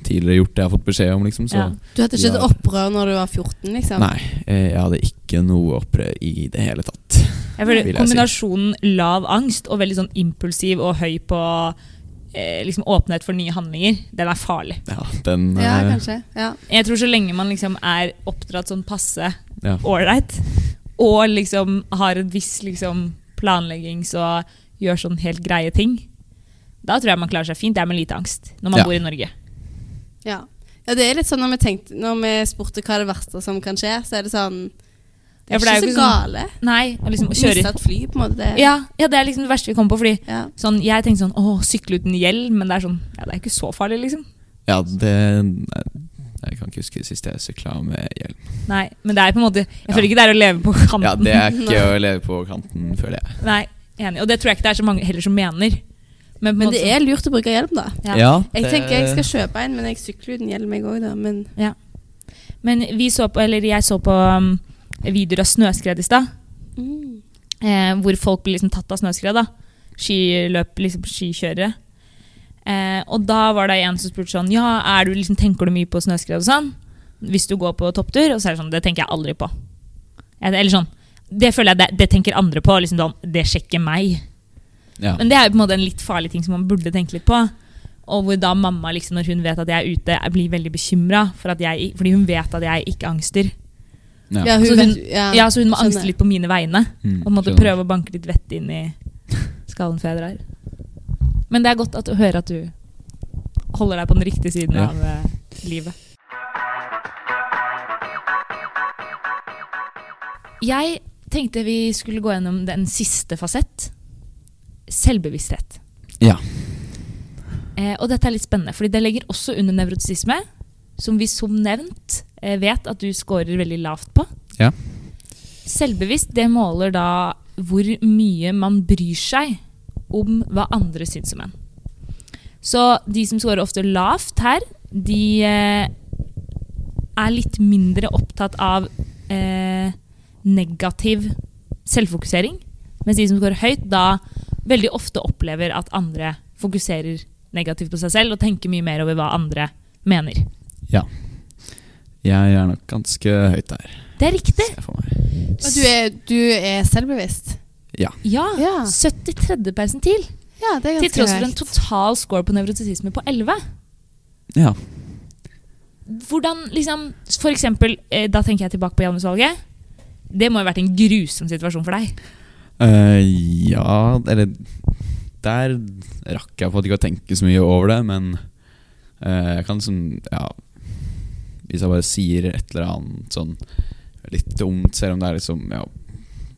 Speaker 3: tidligere gjort det jeg har fått beskjed om, liksom. Så
Speaker 1: Ja.
Speaker 2: Du hadde ikke
Speaker 3: Ja.
Speaker 2: et opprør når du var 14, liksom?
Speaker 3: nei, eh, jeg hadde ikke noe opprør i det hele tatt.
Speaker 1: Jeg føler
Speaker 3: Vil jeg si.
Speaker 1: Kombinasjonen lav angst og veldig sånn impulsiv og høy på eh, liksom åpenhet for nye handlinger, den er farlig.
Speaker 3: Ja, den
Speaker 2: Ja,
Speaker 3: eh,
Speaker 2: kanskje. Ja.
Speaker 1: Jeg tror så lenge man liksom er oppdratt sånn passe
Speaker 3: ja.
Speaker 1: ålreit, og liksom har en viss liksom planleggings- og gjør sånn helt greie ting, da tror jeg man klarer seg fint. Det er med lite angst når man
Speaker 3: Ja.
Speaker 1: bor i Norge.
Speaker 2: Ja. ja, det er litt sånn når vi, tenkte, når vi spurte hva er det verste som kan skje, så er det sånn Det
Speaker 1: Ja,
Speaker 2: er
Speaker 1: for det er
Speaker 2: ikke
Speaker 1: jo
Speaker 2: så
Speaker 1: ikke sånn-
Speaker 2: gale.
Speaker 1: Nei, og liksom å
Speaker 2: Miste
Speaker 1: kjøre
Speaker 2: et fly, på en måte. Det.
Speaker 1: ja, ja, det er liksom det verste vi kommer på. Fordi
Speaker 2: Ja.
Speaker 1: sånn, Jeg tenkte sånn Å, sykle uten hjelm, men det er sånn Ja, det er ikke så farlig, liksom.
Speaker 3: ja, det nei, Jeg kan ikke huske sist jeg sykla med hjelm.
Speaker 1: Nei, men det er på en måte Jeg
Speaker 3: Ja.
Speaker 1: føler ikke det er å leve på kanten. [LAUGHS]
Speaker 3: Ja, det er ikke å leve på kanten, føler jeg.
Speaker 1: Nei, enig. Og det tror jeg ikke det er så mange heller som mener. Men, på en
Speaker 2: Men
Speaker 1: måte
Speaker 2: det er lurt å bruke hjelm, da.
Speaker 1: Ja.
Speaker 2: Jeg
Speaker 4: det-
Speaker 2: tenker jeg skal kjøpe en, men jeg sykler uten hjelm, jeg òg, da. Men
Speaker 1: Men vi så på, eller jeg så på um, videoer av snøskred i stad,
Speaker 2: mm.
Speaker 1: eh, hvor folk blir liksom tatt av snøskred. da. Skiløp, liksom skikjørere. Eh, og da var det en som spurte sånn Ja, er du liksom, tenker du mye på snøskred og sånn? Hvis du går på topptur? Og så er det sånn, det tenker jeg aldri på. Eh, Eller sånn, det føler jeg, det, det tenker andre på. liksom sånn, Det sjekker meg.
Speaker 3: Ja.
Speaker 1: Men det er jo på en måte en litt farlig ting som man burde tenke litt på. Og hvor da mamma, liksom, når hun vet at jeg er ute, jeg blir veldig bekymra. For at jeg- fordi hun vet at jeg ikke angster.
Speaker 3: Ja.
Speaker 2: ja, hun,
Speaker 1: Så Altså, hun-
Speaker 2: vet- ja,
Speaker 1: Ja, Så hun må
Speaker 2: skjønner.
Speaker 1: angste litt på mine vegne.
Speaker 3: Mm,
Speaker 1: Og på en måte
Speaker 3: skjønner.
Speaker 1: prøve å banke litt vett inn i skallen før jeg drar. Men det er godt at, å høre at du holder deg på den riktige siden
Speaker 3: Ja.
Speaker 1: av eh, livet. Jeg tenkte vi skulle gå gjennom den siste fasett. Selvbevissthet.
Speaker 3: Ja.
Speaker 1: Eh, og dette er litt spennende, fordi det legger også under nevrotisisme, som vi som nevnt eh, vet at du scorer veldig lavt på.
Speaker 3: Ja.
Speaker 1: Selvbevisst, det måler da hvor mye man bryr seg om hva andre syns om en. Så de som scorer ofte lavt her, de eh, er litt mindre opptatt av eh, negativ selvfokusering. Mens de som scorer høyt, da veldig ofte opplever at andre fokuserer negativt på seg selv og tenker mye mer over hva andre mener.
Speaker 3: Jeg er nok ganske høyt der.
Speaker 1: Det er riktig!
Speaker 3: ser jeg for meg.
Speaker 2: Men du er, du er selvbevisst?
Speaker 1: Ja!
Speaker 2: Ja.
Speaker 1: 73. persentil.
Speaker 2: ja, det er
Speaker 1: Ah. Til
Speaker 2: ganske
Speaker 1: tross for en
Speaker 2: høyt.
Speaker 1: total score på nevrotisisme på 11.
Speaker 3: Ja.
Speaker 1: Hvordan liksom For eksempel, eh, da tenker jeg tilbake på Janusvalget. Det må ha vært en grusom situasjon for deg.
Speaker 3: Eh, ja, eller Der rakk jeg på at ikke å tenke så mye over det, men eh, jeg kan sånn Ja, hvis jeg bare sier et eller annet sånn litt dumt, selv om det er liksom ja,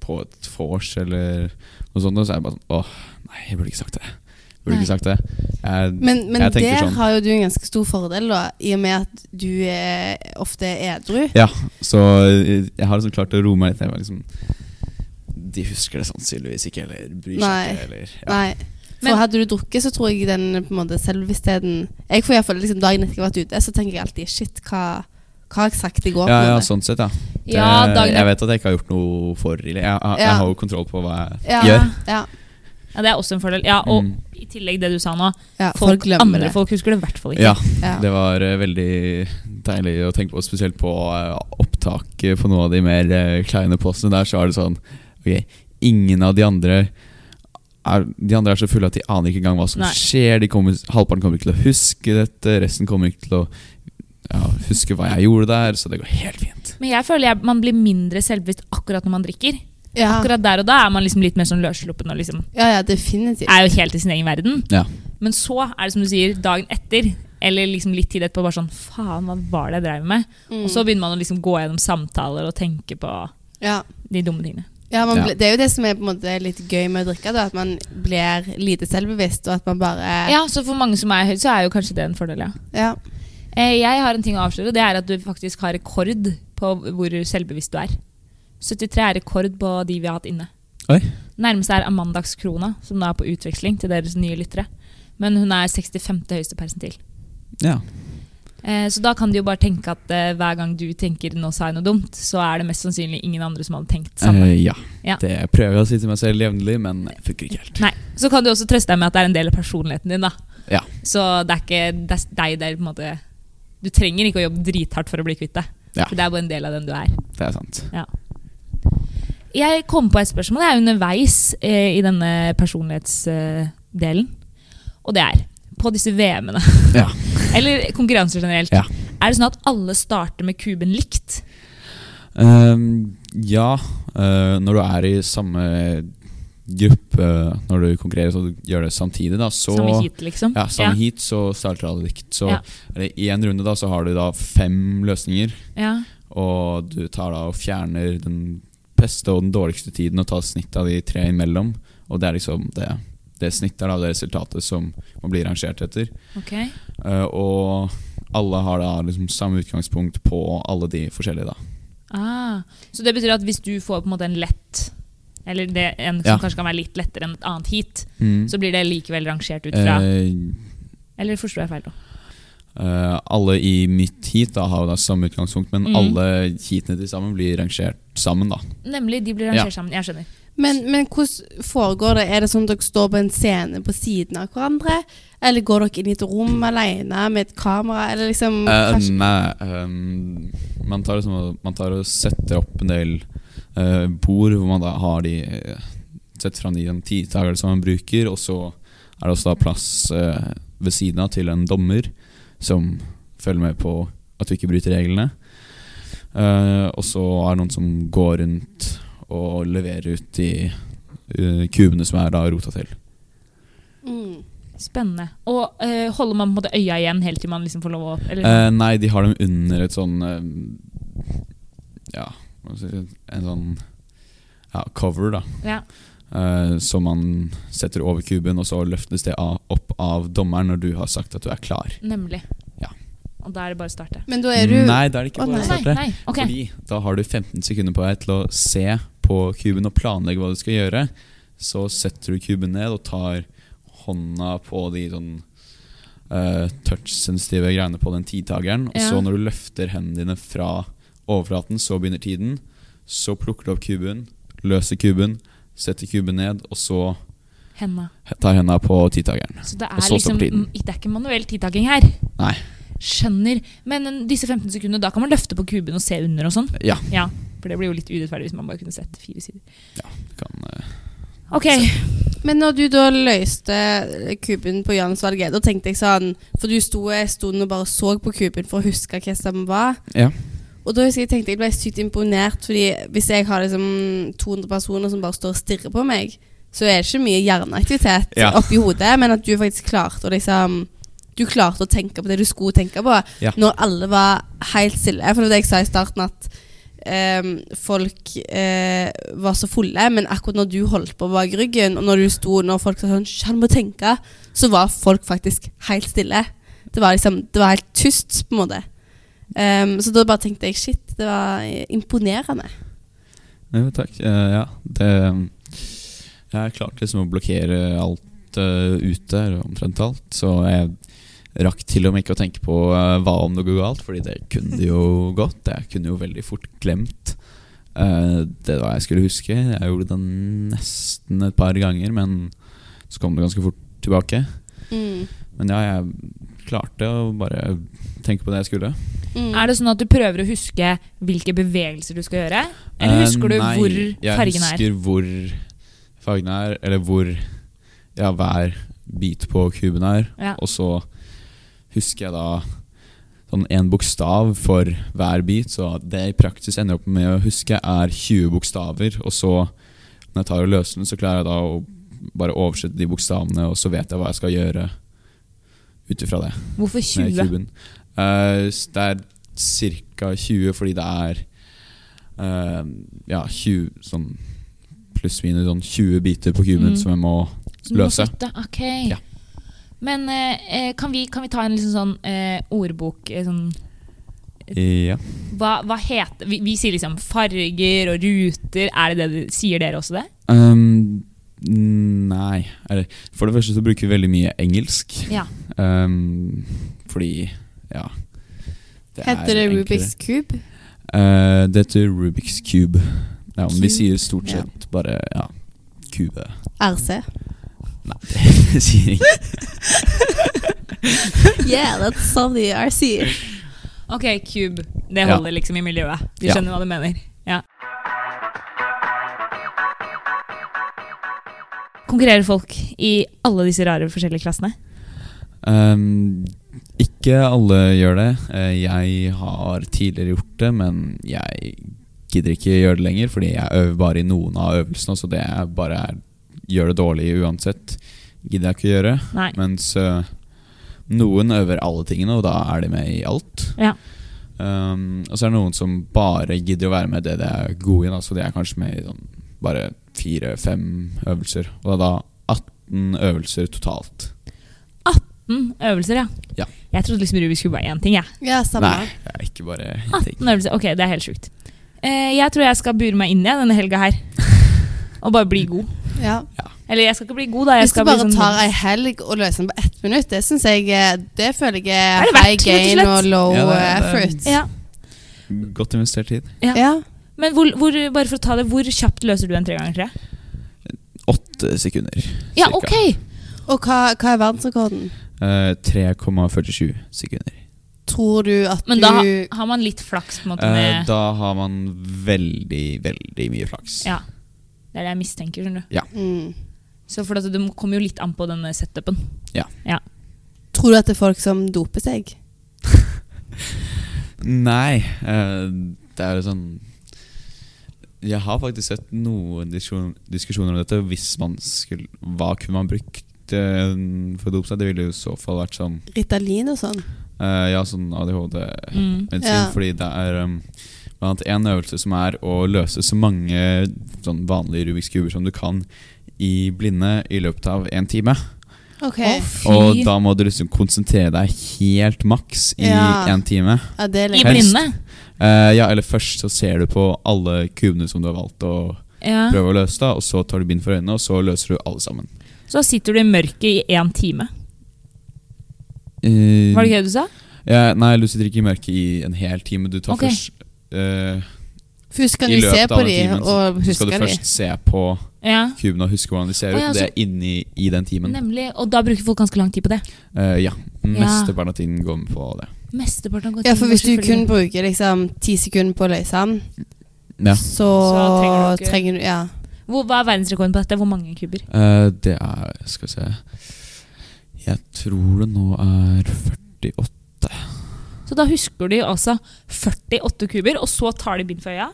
Speaker 3: på et vors eller noe sånt, så er jeg bare sånn Åh, nei, jeg burde ikke sagt det. Jeg Burde
Speaker 1: Nei.
Speaker 3: ikke sagt det. Jeg,
Speaker 2: Men, men
Speaker 3: Jeg tenker
Speaker 2: der
Speaker 3: sånn.
Speaker 2: har jo du en ganske stor fordel, da, i og med at du er ofte er edru.
Speaker 3: så jeg har liksom klart å roe meg litt. Jeg var liksom De husker det sannsynligvis ikke, eller bryr seg
Speaker 2: Nei.
Speaker 3: ikke, eller ja.
Speaker 2: Nei. For
Speaker 1: Men-
Speaker 2: hadde du drukket, så tror jeg den på en måte selvbevisstheten Jeg får iallfall liksom, dagen etter jeg har vært ute, så tenker jeg alltid Shit, hva, hva har jeg sagt i går?
Speaker 3: Ja,
Speaker 2: på en
Speaker 3: ja,
Speaker 2: måte?
Speaker 3: sånn sett, ja. Det,
Speaker 1: Ja, dagen-
Speaker 3: Eh, jeg vet at jeg ikke har gjort noe for ille. Jeg, jeg,
Speaker 2: Ja.
Speaker 3: jeg har jo kontroll på hva jeg
Speaker 2: Ja,
Speaker 3: gjør.
Speaker 2: Ja,
Speaker 1: Ja, Det er også en fordel. Ja, Og
Speaker 3: Mm.
Speaker 1: i tillegg det du sa nå.
Speaker 2: ja,
Speaker 1: Folk,
Speaker 2: folk glemmer
Speaker 1: andre
Speaker 2: det.
Speaker 1: folk husker det i hvert fall ikke.
Speaker 3: Ja,
Speaker 2: Ja.
Speaker 3: det var eh, veldig deilig å tenke på, spesielt på eh, opptak eh, på noen av de mer eh, kleine postene der, så er det sånn Ok, ingen av de andre er, de andre er så fulle at de aner ikke engang hva som
Speaker 1: Nei.
Speaker 3: skjer. De kommer, halvparten kommer ikke til å huske dette, resten kommer ikke til å ja, huske hva jeg gjorde der, så det går helt fint.
Speaker 1: Men jeg føler jeg, man blir mindre selvbevisst akkurat når man drikker.
Speaker 2: Ja.
Speaker 1: Akkurat der og da er man liksom litt mer sånn løssluppen og liksom
Speaker 2: ja, ja, definitivt.
Speaker 1: er jo helt i sin egen verden.
Speaker 3: Ja.
Speaker 1: Men så er det som du sier, dagen etter, eller liksom litt tid etterpå, bare sånn Faen, hva var det jeg drev med?
Speaker 2: Mm.
Speaker 1: Og så begynner man å liksom gå gjennom samtaler og tenke på
Speaker 2: ja.
Speaker 1: de dumme tingene.
Speaker 2: Ja, man
Speaker 3: Ja.
Speaker 2: Ble, Det er jo det som er på en måte litt gøy med å drikke, da, at man blir lite selvbevisst, og at man bare
Speaker 1: Ja, så for mange som er høyt, så er jo kanskje det en fordel, ja.
Speaker 2: Ja.
Speaker 1: Eh, Jeg har en ting å avsløre, og det er at du faktisk har rekord på hvor selvbevisst du er. 73 er rekord på de vi har hatt inne.
Speaker 3: Oi.
Speaker 1: Nærmest er Amandax Krona, som da er på utveksling til deres nye lyttere. Men hun er 65. høyeste persentil.
Speaker 3: Ja.
Speaker 1: Eh, Så da kan du jo bare tenke at eh, hver gang du tenker 'nå sa jeg noe dumt', så er det mest sannsynlig ingen andre som hadde tenkt samme.
Speaker 3: Eh, ja.
Speaker 1: Ja.
Speaker 3: Det prøver jeg å si til meg selv jevnlig, men det funker ikke helt.
Speaker 1: Nei, Så kan du også trøste deg med at det er en del av personligheten din. da.
Speaker 3: Ja.
Speaker 1: Så det er ikke det er deg der på en måte Du trenger ikke å jobbe drithardt for å bli kvitt det.
Speaker 3: Ja.
Speaker 1: For det er bare en del av den du er.
Speaker 3: Det er sant.
Speaker 1: Jeg kom på et spørsmål jeg er underveis eh, i denne personlighetsdelen. Og det er på disse VM-ene,
Speaker 3: Ja.
Speaker 1: [LAUGHS] eller konkurranser generelt,
Speaker 3: Ja.
Speaker 1: er det sånn at alle starter med kuben likt?
Speaker 3: Ehm, ja, eh, når du er i samme gruppe når du konkurrerer, så du gjør det samtidig, da, så
Speaker 1: samme heat, liksom?
Speaker 3: ja, samme heat, så starter alle likt. Så
Speaker 1: Ja.
Speaker 3: eller, i en runde da, så har du da fem løsninger,
Speaker 1: ja.
Speaker 3: og du tar da og fjerner den beste og den dårligste tiden og tar snitt av de tre imellom. Og det er liksom det, det snittet er da det resultatet som man blir rangert etter.
Speaker 1: Ok.
Speaker 3: Eh, og alle har da liksom samme utgangspunkt på alle de forskjellige, da.
Speaker 1: Ah, så det betyr at hvis du får på en måte en lett Eller det, en som
Speaker 3: Ja.
Speaker 1: kanskje kan være litt lettere enn et annet heat.
Speaker 3: Mm.
Speaker 1: Så blir det likevel rangert ut fra
Speaker 3: Eh,
Speaker 1: Eller forstår jeg feil nå?
Speaker 3: Eh, alle i mitt heat da, har jo da samme utgangspunkt, men
Speaker 1: Mm.
Speaker 3: alle heatene til sammen blir rangert sammen. da.
Speaker 1: Nemlig, de blir
Speaker 3: Ja.
Speaker 1: rangert sammen. Jeg skjønner.
Speaker 2: Men, men hvordan foregår det? Er det sånn at dere står på en scene på siden av hverandre? Eller går dere inn i et rom alene med et kamera? Eller liksom
Speaker 3: Eh,
Speaker 2: kanskje-
Speaker 3: nei, ehm, man, tar liksom, og- man tar og setter opp en del eh, bord hvor man da har de eh, Setter fram de tidtagerne som man bruker, og så er det også da plass eh, ved siden av til en dommer som følger med på at du ikke bryter reglene. Eh, og så er det noen som går rundt og leverer ut de eh, kubene som er da rota til.
Speaker 2: Mm.
Speaker 1: Spennende. Og eh, holder man på en måte øya igjen helt til man liksom får lov å eller,
Speaker 3: Eh, nei, de har dem under et sånn eh, Ja, hva skal jeg si, en sånn ja, cover, da.
Speaker 1: ja.
Speaker 3: eh, som man setter over kuben, og så løftes det av, opp av dommeren når du har sagt at du er klar.
Speaker 1: Nemlig.
Speaker 3: Ja.
Speaker 1: Og da er det bare å starte.
Speaker 2: Men da er du
Speaker 3: Nei, det er det ikke
Speaker 2: Å,
Speaker 3: bare
Speaker 2: nei.
Speaker 3: å
Speaker 1: Nei,
Speaker 3: starte.
Speaker 1: nei, ok.
Speaker 3: Fordi da har du 15 sekunder på deg til å se på kuben og planlegge hva du skal gjøre. Så setter du kuben ned og tar hånda på de sånn eh, touch-sensitive greiene på den tidtageren. Og
Speaker 1: Ja.
Speaker 3: så når du løfter hendene dine fra overflaten, så begynner tiden. Så plukker du opp kuben, løser kuben, setter kuben ned, og så
Speaker 1: Henda.
Speaker 3: tar henda på tidtageren.
Speaker 1: Så det
Speaker 3: Og
Speaker 1: er
Speaker 3: så
Speaker 1: liksom
Speaker 3: stopper tiden.
Speaker 1: mm, Det er ikke manuell tidtaking her.
Speaker 3: Nei.
Speaker 1: Skjønner. Men eh, disse 15 sekundene, da kan man løfte på kuben og se under og sånn?
Speaker 3: Ja,
Speaker 1: Ja. For det blir jo litt urettferdig hvis man bare kunne sett fire sider.
Speaker 3: det kan eh,
Speaker 1: Ok,
Speaker 2: Men når du da løste kuben på Jansvalget, da tenkte jeg sånn For du sto en stund og bare så på kuben for å huske hva som var.
Speaker 3: Ja.
Speaker 2: Og da husker jeg tenkte jeg ble sykt imponert, fordi hvis jeg har liksom 200 personer som bare står og stirrer på meg, så er det ikke mye hjerneaktivitet
Speaker 3: Ja.
Speaker 2: oppi hodet, men at du faktisk klarte å liksom du klarte å tenke på det du skulle tenke på,
Speaker 3: Ja.
Speaker 2: når alle var helt stille. For det var det jeg sa i starten, at ehm, folk eh, var så fulle, men akkurat når du holdt på bak ryggen, og når du sto når folk sa sånn «Sj, 'Han må tenke', så var folk faktisk helt stille. Det var liksom, det var helt tyst, på en måte. Ehm, så da bare tenkte jeg shit, det var eh, imponerende.
Speaker 3: Jo, takk. Eh, ja, det Jeg klarte liksom å blokkere alt eh, ute, eller omtrent alt. Så jeg rakk til og med ikke å tenke på eh, hva om det går galt, fordi det kunne det jo gått. Jeg kunne jo veldig fort glemt eh, det hva jeg skulle huske. Jeg gjorde det nesten et par ganger, men så kom det ganske fort tilbake.
Speaker 2: Mm.
Speaker 3: Men ja, jeg klarte å bare tenke på det jeg skulle.
Speaker 2: Mm.
Speaker 1: Er det sånn at du prøver å huske hvilke bevegelser du skal gjøre? Eller husker du
Speaker 3: Eh, nei,
Speaker 1: hvor fargen er?
Speaker 3: Jeg husker hvor fargen er, eller hvor ja, hver bit på kuben er.
Speaker 1: Ja.
Speaker 3: Og så husker jeg da sånn én bokstav for hver bit, så det jeg i praksis ender opp med å huske, er 20 bokstaver. Og så, når jeg tar og løser den, så klarer jeg da å bare oversette de bokstavene, og så vet jeg hva jeg skal gjøre ut ifra det
Speaker 1: Hvorfor
Speaker 3: med
Speaker 1: 20?
Speaker 3: kuben. Eh, s- det er ca. 20 fordi det er eh, ja, 20 sånn pluss-minus sånn 20 biter på kuben
Speaker 1: Mm.
Speaker 3: som jeg må
Speaker 1: Som du må
Speaker 3: løse.
Speaker 1: flytte? Ok.
Speaker 3: Ja.
Speaker 1: Men eh, eh, kan, vi, kan vi ta en liksom sånn eh, ordbok eh, sånn,
Speaker 3: Ja.
Speaker 1: hva, hva heter vi, vi sier liksom farger og ruter. Er det det du sier dere også det?
Speaker 3: Um, nei eller, For det første så bruker vi veldig mye engelsk.
Speaker 1: Ja.
Speaker 3: Um, fordi ja det er
Speaker 2: Heter det
Speaker 3: enklere.
Speaker 2: Rubiks kube?
Speaker 3: Eh, det heter Rubiks cube. Ja, men vi sier stort
Speaker 2: Ja.
Speaker 3: sett bare ja, kube.
Speaker 2: RC.
Speaker 3: [LAUGHS] Vi sier ikke
Speaker 2: [LAUGHS] Yeah, that's something RC.
Speaker 1: Ok, cube. Det
Speaker 3: Ja.
Speaker 1: holder liksom i miljøet. Du
Speaker 3: Ja.
Speaker 1: skjønner hva du mener. Ja. Konkurrerer folk i alle disse rare forskjellige klassene?
Speaker 3: Ehm, ikke alle gjør det. Eh, Jeg har tidligere gjort det, men jeg gidder ikke gjøre det lenger, fordi jeg øver bare i noen av øvelsene, så det er bare er, gjør det dårlig uansett. Gidder jeg ikke gjøre.
Speaker 1: Nei.
Speaker 3: Mens eh, noen øver alle tingene, og da er de med i alt.
Speaker 1: Ja.
Speaker 3: Ehm, og så er det noen som bare gidder å være med i det de er gode i, da, så de er kanskje med i sånn, bare fire-fem øvelser. Og det er da 18 øvelser totalt.
Speaker 1: Mm, øvelser, ja.
Speaker 3: Ja.
Speaker 1: Jeg trodde liksom Rubiks kube var én ting. jeg.
Speaker 2: Ja, samme.
Speaker 3: Nei, det er ikke bare en ting.
Speaker 2: [LAUGHS]
Speaker 1: 18 øvelser, ok, det er helt sjukt. Eh, jeg tror jeg skal bure meg inn igjen denne helga her. og bare bli god.
Speaker 2: Ja.
Speaker 1: Eller jeg skal ikke bli god, da. Jeg
Speaker 2: Hvis du
Speaker 1: skal
Speaker 2: bare
Speaker 1: bli sånn,
Speaker 2: tar ei helg og løser den på ett minutt, det synes jeg eh, Det føler jeg er
Speaker 1: det verdt,
Speaker 2: high
Speaker 1: rett og
Speaker 2: gain
Speaker 1: slett?
Speaker 2: og low
Speaker 3: Ja, det
Speaker 2: eh,
Speaker 3: er- det er-
Speaker 2: effort.
Speaker 1: ja.
Speaker 3: Godt investert tid.
Speaker 1: Ja. Men hvor, hvor, bare for å ta det, hvor kjapt løser du en tre ganger tre?
Speaker 3: Åtte sekunder.
Speaker 1: Ja,
Speaker 3: cirka.
Speaker 1: ok!
Speaker 2: Og hva, hva er verdensrekorden?
Speaker 3: Eh, 3,47 sekunder.
Speaker 2: Tror du at
Speaker 1: Men da
Speaker 2: du
Speaker 1: har man litt flaks. på en måte
Speaker 3: Eh,
Speaker 1: med,
Speaker 3: da har man veldig, veldig mye flaks.
Speaker 1: ja. Det er det jeg mistenker. skjønner du.
Speaker 2: mm,
Speaker 1: Så for at Det kommer jo litt an på denne setupen.
Speaker 2: Tror du at det er folk som doper seg?
Speaker 3: Nei, eh, det er jo sånn Jeg har faktisk sett noen diskusjon- diskusjoner om dette. Hvis man skulle Hva kunne man brukt eh, for å dope seg? Det ville jo i så fall vært sånn
Speaker 2: Ritalin og sånn?
Speaker 3: eh, Ja, sånn ADHD
Speaker 1: Mm.
Speaker 3: medisin,
Speaker 2: Ja.
Speaker 3: fordi det er um, blant annet en øvelse som er å løse så mange sånn vanlige Rubiks kuber som du kan i blinde i løpet av en time.
Speaker 2: Ok.
Speaker 1: Å, fy.
Speaker 3: Og da må du liksom konsentrere deg helt maks i
Speaker 2: Ja.
Speaker 3: en time.
Speaker 2: Ja, det er
Speaker 1: I
Speaker 2: lenge.
Speaker 3: Helst.
Speaker 1: blinde.
Speaker 3: Eh, ja, eller først så ser du på alle kubene som du har valgt å
Speaker 1: Ja.
Speaker 3: prøve å løse, da, og så tar du bind for øynene, og så løser du alle sammen.
Speaker 1: Så da sitter du i mørket i én time.
Speaker 3: Eh,
Speaker 1: Var det ikke det du sa?
Speaker 3: ja, nei, du sitter ikke i mørket i en hel time. Du tar
Speaker 1: Ok.
Speaker 3: først eh,
Speaker 2: Først kan
Speaker 3: I
Speaker 2: du se
Speaker 3: løpet
Speaker 2: på
Speaker 3: av den
Speaker 2: de
Speaker 3: timen så,
Speaker 2: og
Speaker 3: så skal
Speaker 2: huske
Speaker 3: du
Speaker 2: de.
Speaker 3: først se på
Speaker 1: Ja.
Speaker 3: kuben og huske hvordan de ser
Speaker 1: Å,
Speaker 3: ut.
Speaker 1: ja,
Speaker 3: og det er inni i den timen.
Speaker 1: Nemlig. Og da bruker folk ganske lang tid på det.
Speaker 3: Eh, ja. Mesteparten av tiden går med på det.
Speaker 1: Mesteparten av
Speaker 2: Ja, for hvis du kun bruker liksom ti sekunder på å løse den,
Speaker 3: Ja.
Speaker 2: så,
Speaker 1: Så trenger du ikke-
Speaker 2: trenger du Ja.
Speaker 1: Hvor, Hva er verdensrekorden på dette? Hvor mange kuber?
Speaker 3: Eh, det er Skal vi se Jeg tror det nå er 48
Speaker 1: Så da husker de altså 48 kuber, og så tar de bind for øya,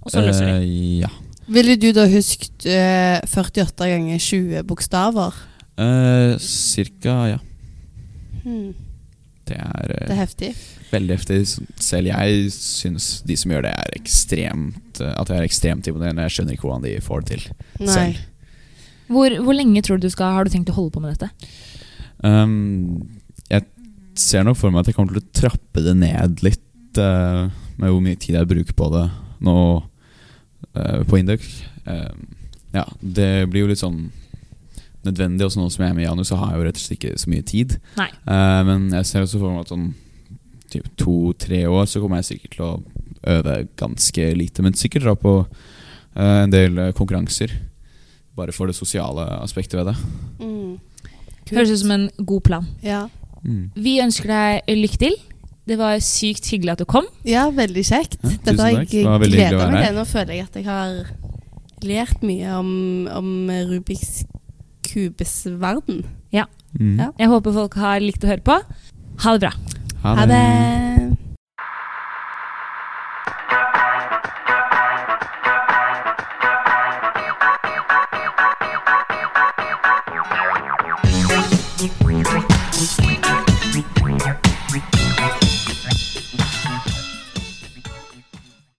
Speaker 1: og så løser de.
Speaker 3: Eh, ja.
Speaker 2: Ville du da husket eh, 48 ganger 20 bokstaver?
Speaker 3: Eh, cirka, ja.
Speaker 2: Hmm,
Speaker 3: Det er, eh,
Speaker 2: det er heftig.
Speaker 3: veldig heftig. Så Selv jeg syns de som gjør det, er ekstremt eh, At jeg er ekstremt imponerende. Jeg skjønner ikke hvordan de får det til
Speaker 2: Nei.
Speaker 3: selv.
Speaker 1: Hvor, hvor lenge tror du du skal, har du tenkt å holde på med dette?
Speaker 3: Um, jeg ser nok for meg at jeg kommer til å trappe det ned litt eh, med hvor mye tid jeg bruker på det nå eh, på Induc. Um, ja, det blir jo litt sånn nødvendig. Også nå som jeg er med Janus, så har jeg jo rett og slett ikke så mye tid.
Speaker 1: Nei.
Speaker 3: Eh, men jeg ser også for meg at sånn typ to-tre år så kommer jeg sikkert til å øve ganske lite, men sikkert dra på eh, en del eh, konkurranser. Bare for det sosiale aspektet ved det.
Speaker 2: Mm. Kult.
Speaker 1: Høres ut som en god plan.
Speaker 2: ja.
Speaker 3: Mm.
Speaker 1: Vi ønsker deg lykke til. Det var sykt hyggelig at du kom.
Speaker 2: ja, veldig kjekt.
Speaker 3: Ja, tusen
Speaker 2: Dette har jeg
Speaker 3: takk. Det var veldig hyggelig
Speaker 2: gleda
Speaker 3: å være
Speaker 2: meg
Speaker 3: her.
Speaker 2: til. Nå føler jeg at jeg har lært mye om, om Rubiks kubes verden.
Speaker 3: Mm.
Speaker 2: Ja.
Speaker 1: Jeg håper folk har likt å høre på. Ha det bra.
Speaker 3: Ha
Speaker 2: Ha
Speaker 3: det.
Speaker 2: det!